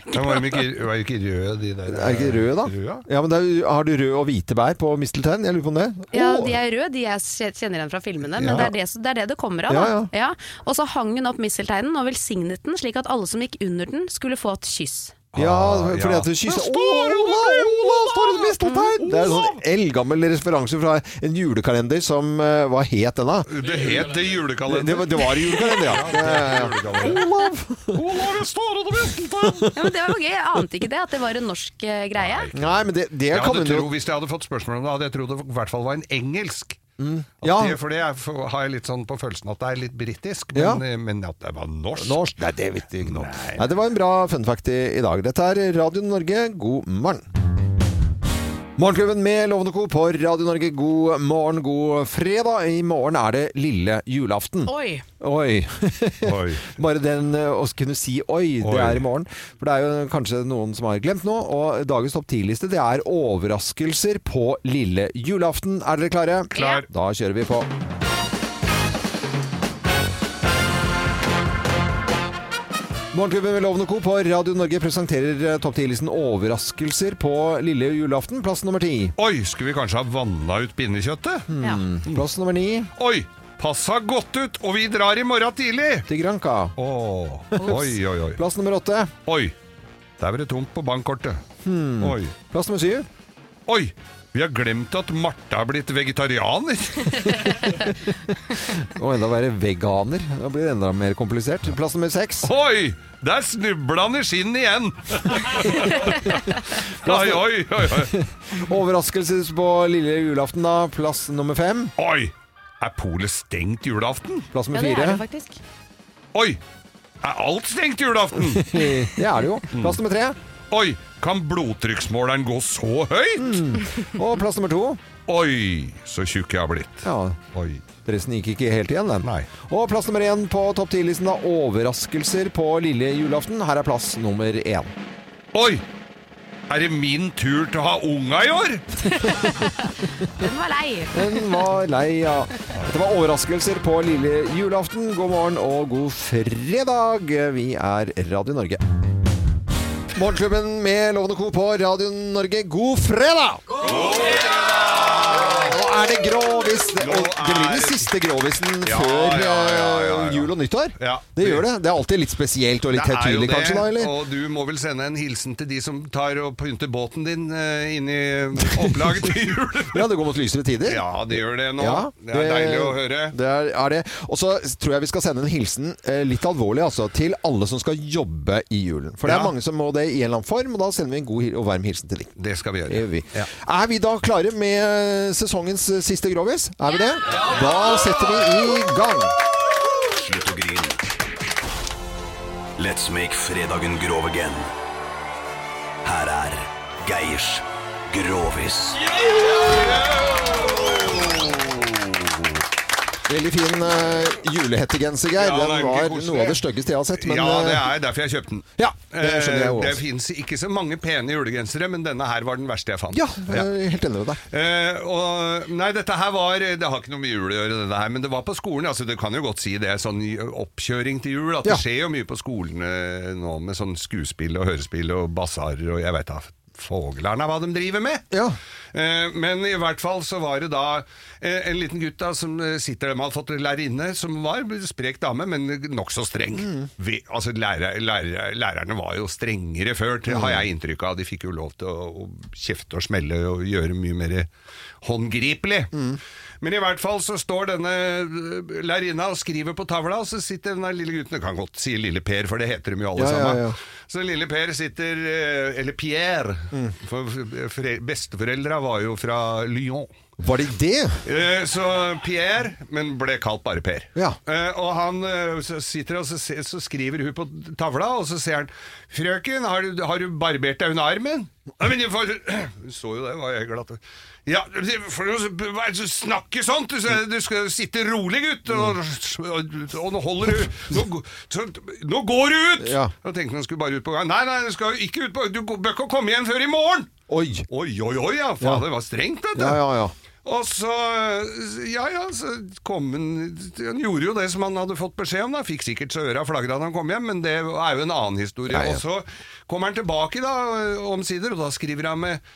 Speaker 2: Men var de ikke, var de ikke røde, de der?
Speaker 1: Er ikke røde, da? Ja, men det er, Har du rød og hvite bær på misteltein? Jeg lurer på om det.
Speaker 3: Ja,
Speaker 1: Å!
Speaker 3: De er røde, de jeg kje- kjenner igjen fra filmene, men
Speaker 1: Ja.
Speaker 3: det, er det, som- det er det det kommer av.
Speaker 1: Ja,
Speaker 3: da. Ja. Og så hang hun opp mistelteinen og velsignet den, slik at alle som gikk under den, skulle få et kyss.
Speaker 1: Ja,
Speaker 2: Ah,
Speaker 1: fordi
Speaker 2: ja.
Speaker 1: at du kysser Å, Olav, Olav, står under misteltein! Det er en sånn eldgammel referanse fra en julekalender som eh, Hva het den, da?
Speaker 2: Det het det julekalender.
Speaker 1: Det, var- det var julekalender, ja.
Speaker 2: det het
Speaker 1: [laughs]
Speaker 2: julekalender.
Speaker 1: Olav!
Speaker 2: Olav står under misteltein!
Speaker 3: Ja, men det var gøy, jeg ante ikke det, at det var en norsk eh, greie.
Speaker 1: Nei, men det, det
Speaker 2: Jeg
Speaker 1: kan
Speaker 2: hadde
Speaker 1: man jo
Speaker 2: tro, hvis jeg hadde fått spørsmål om det, hadde jeg trodd det i hvert fall var en engelsk. At
Speaker 1: Mm. Ja.
Speaker 2: det, for det er, for, har jeg litt sånn på følelsen at det er litt britisk,
Speaker 1: Ja.
Speaker 2: men, eh, men at det var norsk.
Speaker 1: Norsk? Nei, det vet jeg ikke nå. Nei, det var en bra fun fact i, i dag. Dette er Radio Norge, god morgen. Morgenklubben med Lovende Co. på Radio Norge, god morgen, god fredag. I morgen er det lille julaften.
Speaker 3: Oi.
Speaker 1: Oi. Bare den eh, å kunne si oi,
Speaker 2: Oi.
Speaker 1: det er i morgen. For det er jo kanskje noen som har glemt noe. Og dagens topp 10-liste det er overraskelser på lille julaften. Er dere klare?
Speaker 2: Klar.
Speaker 1: Da kjører vi på. Morgenklubben med Loven og Co. på Radio Norge presenterer eh, topp 10-listen overraskelser på lille julaften. Plass nummer ti.
Speaker 2: Oi, skulle vi kanskje ha vanna ut pinnekjøttet?
Speaker 1: Hmm. Plass nummer ni.
Speaker 2: Oi, passa godt ut, og vi drar i morgen tidlig!
Speaker 1: Til Granca.
Speaker 2: Åh, oi, oi, oi.
Speaker 1: Plass nummer åtte.
Speaker 2: Oi, der var det tomt på bankkortet.
Speaker 1: Hmm.
Speaker 2: Oi.
Speaker 1: Plass nummer syv.
Speaker 2: Oi, vi har glemt at Martha er blitt vegetarianer.
Speaker 1: Og enda verre veganer. Da blir det enda mer komplisert. Plass nummer seks.
Speaker 2: Oi, der snubla han i skinnet
Speaker 1: [laughs]
Speaker 2: igjen! oi, oi, oi, oi.
Speaker 1: Overraskelser på lille julaften, da. Plass nummer fem.
Speaker 2: Oi, er polet stengt julaften?
Speaker 1: Plass nummer fire.
Speaker 3: faktisk.
Speaker 2: Oi, er alt stengt julaften?
Speaker 1: [laughs] Det er det jo. Plass nummer tre.
Speaker 2: Oi, kan blodtrykksmåleren gå så høyt?
Speaker 1: Og plass nummer to.
Speaker 2: Oi, så tjukk jeg har blitt.
Speaker 1: Ja,
Speaker 2: Oi.
Speaker 1: Dressen gikk ikke helt igjen, den.
Speaker 2: Nei.
Speaker 1: Og plass nummer én på topp 10-listen, da. Overraskelser på lille julaften. Her er plass nummer én.
Speaker 2: Oi! Er det min tur til å ha unga i år?
Speaker 3: Den var lei.
Speaker 1: Den var lei, ja. Det var overraskelser på lille julaften. God morgen og god fredag. Vi er Radio Norge. Morgenklubben med Lovende Co. på Radio Norge, god fredag! Nå er det grovis. Det, og det blir den siste grovisen
Speaker 2: Ja,
Speaker 1: før
Speaker 2: ja, ja, ja,
Speaker 1: eh, jul og nyttår. Det gjør det. Det er alltid litt spesielt og litt
Speaker 2: Det er jo
Speaker 1: høytidelig,
Speaker 2: det,
Speaker 1: kanskje, da, eller?
Speaker 2: Og du må vel sende en hilsen til de som tar og pynter båten din eh, inn i opplaget til jul.
Speaker 1: [laughs] Ja, det går mot lysere tider.
Speaker 2: Ja, det gjør det nå.
Speaker 1: Ja,
Speaker 2: det, er deilig å høre.
Speaker 1: Det er, er det. Og så tror jeg vi skal sende en hilsen, eh, litt alvorlig altså, til alle som skal jobbe i julen. For det er
Speaker 2: Ja.
Speaker 1: mange som må det i en eller annen form, og da sender vi en god hil- og varm hilsen til dem.
Speaker 2: Det skal vi gjøre.
Speaker 1: Er vi, er vi da klare med sesongens eh, siste grovis? Er vi det? Da setter vi i gang.
Speaker 4: Slutt å grine. Let's make fredagen grov again. Her er Geirs Grovis.
Speaker 1: Veldig fin eh, julehettegenser, Geir.
Speaker 2: Ja, det er
Speaker 1: Den
Speaker 2: jo ikke
Speaker 1: var
Speaker 2: koselig.
Speaker 1: noe av det styggeste jeg har sett. Men
Speaker 2: ja, det
Speaker 1: eh,
Speaker 2: er derfor jeg kjøpte den.
Speaker 1: Ja, det skjønner jeg jo
Speaker 2: Eh, Det
Speaker 1: også.
Speaker 2: fins ikke så mange pene julegensere, men denne her var den verste jeg fant.
Speaker 1: ja, eh, jeg er helt enig med deg.
Speaker 2: Eh, og, nei, dette her var Det har ikke noe med jul å gjøre, dette her, men det var på skolen. Altså, du kan jo godt si det, sånn i- oppkjøring til jul. At
Speaker 1: Ja.
Speaker 2: det skjer jo mye på skolene nå med sånn skuespill og hørespill og basarer og jeg veit da fogler'n hva de driver med. Eh, men i hvert fall så var det da eh, en liten gutt da som eh, sitter der med hadde fått lærerinne, som var en sprek dame, men nokså streng.
Speaker 1: Mm.
Speaker 2: Vi, altså, lærer, lærer, lærerne var jo strengere før, til,
Speaker 1: Mm.
Speaker 2: har jeg inntrykk av. De fikk jo lov til å, å kjefte og smelle og gjøre mye mer håndgripelig.
Speaker 1: Mm.
Speaker 2: Men i hvert fall så står denne eh, lærerinna og skriver på tavla, og så sitter denne lille gutten, jeg kan godt si lille Per, for det heter de jo alle
Speaker 1: Ja, ja,
Speaker 2: sammen.
Speaker 1: ja.
Speaker 2: Så lille Per sitter eh, Eller Pierre. For fore- besteforeldra var jo fra Lyon.
Speaker 1: Var det det?
Speaker 2: Eh, Så Pierre, men ble kalt bare Per.
Speaker 1: Ja.
Speaker 2: Eh, Og han eh, så sitter og så, se- så skriver hun på tavla, og så ser han 'Frøken, har du, har du barbert deg under armen?' «Nei, men jeg får, [clears throat] Hun så jo det, var jeg glatt. Ja, for Hva er det som snakker sånt? Du, skal- du skal sitte rolig, gutt. Og, og, og nå holder du Nå, g- så, nå går du ut!
Speaker 1: Ja.
Speaker 2: Da tenkte han skulle bare ut på gang. Nei, nei, du skal ikke ut på Du bør ikke komme igjen før i morgen!
Speaker 1: Oi!
Speaker 2: Oi, oi, oi, ja. Fader, det var strengt, vet du.
Speaker 1: Ja, ja, ja.
Speaker 2: Og så Ja ja, så kom han Han gjorde jo det som han hadde fått beskjed om, da. Fikk sikkert så øra flagra da han kom hjem, men det er jo en annen historie.
Speaker 1: Ja, ja.
Speaker 2: Og så kommer han tilbake, da, omsider, og da skriver han med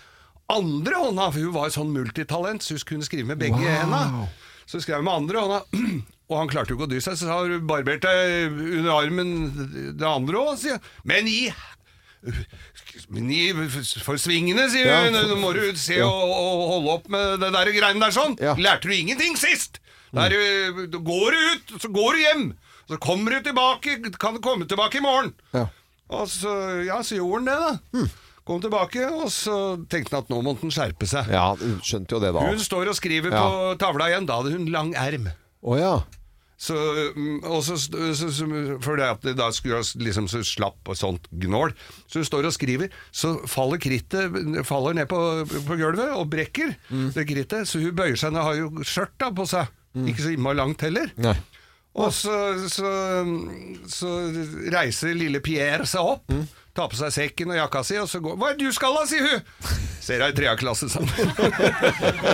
Speaker 2: andre hånda, for hun var sånn multitalent, så hun kunne skrive med begge
Speaker 1: Wow.
Speaker 2: henda. Så skrev hun med andre hånda. [clears throat] Og han klarte jo ikke å dy seg, så har hun barbert deg under armen det andre òg, sier han. Men i men i for svingene, sier
Speaker 1: Ja.
Speaker 2: hun. Nå må du se å å holde opp med det der greiene der sånn. Lærte du ingenting sist? Da er du- da går du ut, så går du hjem. Så kommer du tilbake, kan du komme tilbake i morgen.
Speaker 1: Ja. Hmm.
Speaker 2: Og så, ja, så gjorde han det, da. Kom tilbake, og så tenkte han at nå måtte han skjerpe seg.
Speaker 1: Ja, hun skjønte jo det da.
Speaker 2: Hun står og skriver
Speaker 1: Ja.
Speaker 2: på tavla igjen. Da hadde hun lang erm.
Speaker 1: Å ja.
Speaker 2: Så, mm, og så, st- så, så for det at det da skulle jeg s- liksom så slapp og sånt gnål. Så hun står og skriver, så faller krittet faller ned på, på gulvet og brekker det krittet. Så hun bøyer seg ned, har jo skjørt da på seg. Ikke så innmari langt heller.
Speaker 1: Nei.
Speaker 2: Og så, så, så reiser lille Pierre seg opp, tar på seg sekken og jakka si, og så går Hva er det du skal da, sier hun! Ser deg i tredje klasse sammen.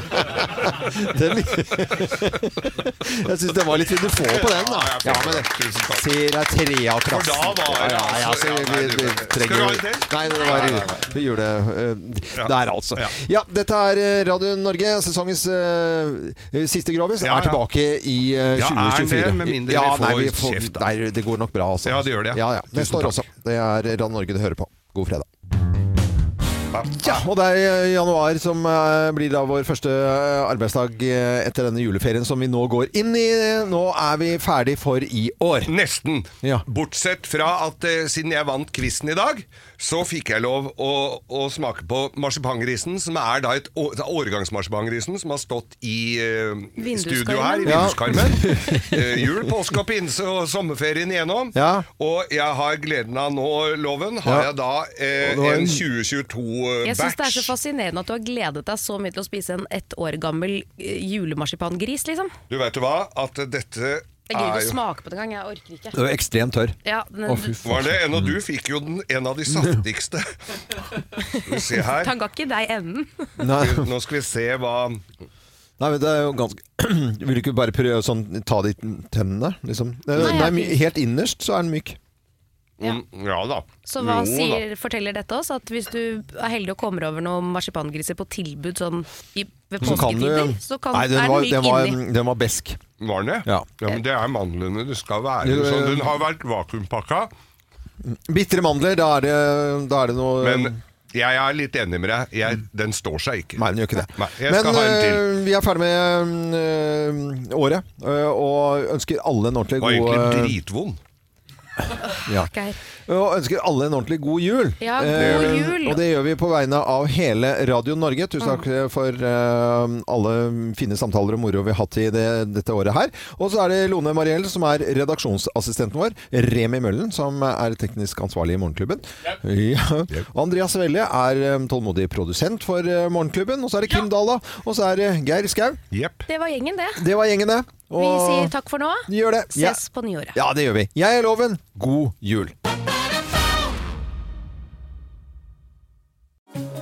Speaker 1: Den, jeg syns det var litt uniform på den, da. Ja, men
Speaker 2: Tusen takk.
Speaker 1: Ser jeg trea
Speaker 2: For da
Speaker 1: klassen.
Speaker 2: var det
Speaker 1: ja, ja, ja,
Speaker 2: altså-
Speaker 1: så
Speaker 2: ja,
Speaker 1: vi,
Speaker 2: nei,
Speaker 1: vi,
Speaker 2: du-
Speaker 1: vi
Speaker 2: Skal du
Speaker 1: trenger
Speaker 2: ha en til?
Speaker 1: Nei, det var ju- jule... eh, Der, altså.
Speaker 2: Ja.
Speaker 1: Ja, dette er eh, Radio Norge, sesongens eh, siste grovis.
Speaker 2: Ja,
Speaker 1: Er
Speaker 2: ja.
Speaker 1: tilbake i eh,
Speaker 2: Ja, er den
Speaker 1: 2024.
Speaker 2: det? Med mindre vi
Speaker 1: ja,
Speaker 2: får
Speaker 1: nei, vi
Speaker 2: kjeft, da.
Speaker 1: Nei, det går nok bra, altså.
Speaker 2: Ja, det gjør det, ja.
Speaker 1: Ja, ja.
Speaker 2: Tusen
Speaker 1: Neste
Speaker 2: takk.
Speaker 1: år også. Det er Radio Norge du hører på. God fredag. Ja, og det er januar som eh, blir da vår første eh, arbeidsdag eh, etter denne juleferien som vi nå går inn i. Nå er vi ferdig for i år.
Speaker 2: Nesten.
Speaker 1: Ja.
Speaker 2: Bortsett fra at eh, siden jeg vant quizen i dag, så fikk jeg lov å, å smake på marsipangrisen, som er da et å- det er årgangsmarsipangrisen som har stått i eh,
Speaker 9: Vinduskarmen.
Speaker 2: studio her, i
Speaker 1: Ja. [laughs]
Speaker 2: vinduskarmen. Eh, jul, påske og pinse og sommerferien igjennom.
Speaker 1: Ja.
Speaker 2: Og jeg har gleden av nå, Loven, har
Speaker 1: Ja.
Speaker 2: jeg da
Speaker 1: Og det
Speaker 2: eh,
Speaker 1: var en-
Speaker 2: en eh, 2022-batch.
Speaker 3: Jeg syns det er så fascinerende at du har gledet deg så mye til å spise en ett år gammel eh, julemarsipangris, liksom.
Speaker 2: Du vet du hva, at dette
Speaker 3: Jeg
Speaker 1: Ah,
Speaker 3: gidder
Speaker 2: Er
Speaker 3: ikke
Speaker 2: jo-
Speaker 3: å smake på det engang. Jeg orker ikke.
Speaker 12: Det var ekstremt tørr.
Speaker 3: Ja, den-
Speaker 2: Var det en, og du fikk jo den, en av
Speaker 1: Mm.
Speaker 2: de
Speaker 3: [laughs]
Speaker 2: saftigste. Skal vi se her.
Speaker 3: Han ga ikke deg enden.
Speaker 2: Nå skal vi se hva
Speaker 1: Nei, men det er jo ganske [clears throat] Vil du ikke bare prøve å sånn, ta de tennene, liksom? Nei,
Speaker 3: Nei, jeg-
Speaker 1: my- helt innerst så er den myk.
Speaker 3: Ja.
Speaker 2: Ja da.
Speaker 3: Så hva sier, forteller dette oss? At hvis du er heldig og kommer over noen marsipangriser på tilbud sånn i, ved
Speaker 1: Så kan du
Speaker 3: påsketider, så kan,
Speaker 1: Nei, den
Speaker 3: er
Speaker 1: var,
Speaker 3: den myk
Speaker 1: den var,
Speaker 3: inni.
Speaker 1: den var besk.
Speaker 2: Var den det?
Speaker 1: Ja.
Speaker 2: men det er mandlene det skal være.
Speaker 1: Det-
Speaker 2: Sånn, den har vært vakuumpakka.
Speaker 1: Bitre mandler, da er det, da er det noe
Speaker 2: Men jeg er litt enig med deg. Jeg, den står seg ikke. Nei,
Speaker 1: den gjør ikke det.
Speaker 2: jeg skal ha en til.
Speaker 1: øh, vi er ferdig med øh, året, øh, og ønsker alle en ordentlig
Speaker 2: Den var
Speaker 1: god
Speaker 2: egentlig
Speaker 1: øh,
Speaker 2: dritvond.
Speaker 1: ja.
Speaker 3: Geir.
Speaker 1: Og ønsker alle en ordentlig god jul.
Speaker 3: Ja, god
Speaker 1: Eh,
Speaker 3: jul. Mm.
Speaker 1: og det gjør vi på vegne av hele Radio Norge. Tusen takk for eh, alle fine samtaler og moro vi har hatt i det, dette året her. Og så er det Lone Mariell som er redaksjonsassistenten vår. Remi Møllen som er teknisk ansvarlig i Morgenklubben. Ja. Og Andreas Velle er eh, tålmodig produsent for eh, Morgenklubben. Og så er det Kim Dala. Og så er det Geir Skau.
Speaker 3: Det var gjengen, det.
Speaker 1: Det var gjengen, det.
Speaker 3: Vi
Speaker 1: Og-
Speaker 3: sier takk for nå.
Speaker 1: Gjør det.
Speaker 3: Ses
Speaker 1: Ja.
Speaker 3: på nyåret.
Speaker 1: Ja, det gjør vi. Jeg er Loven. God jul.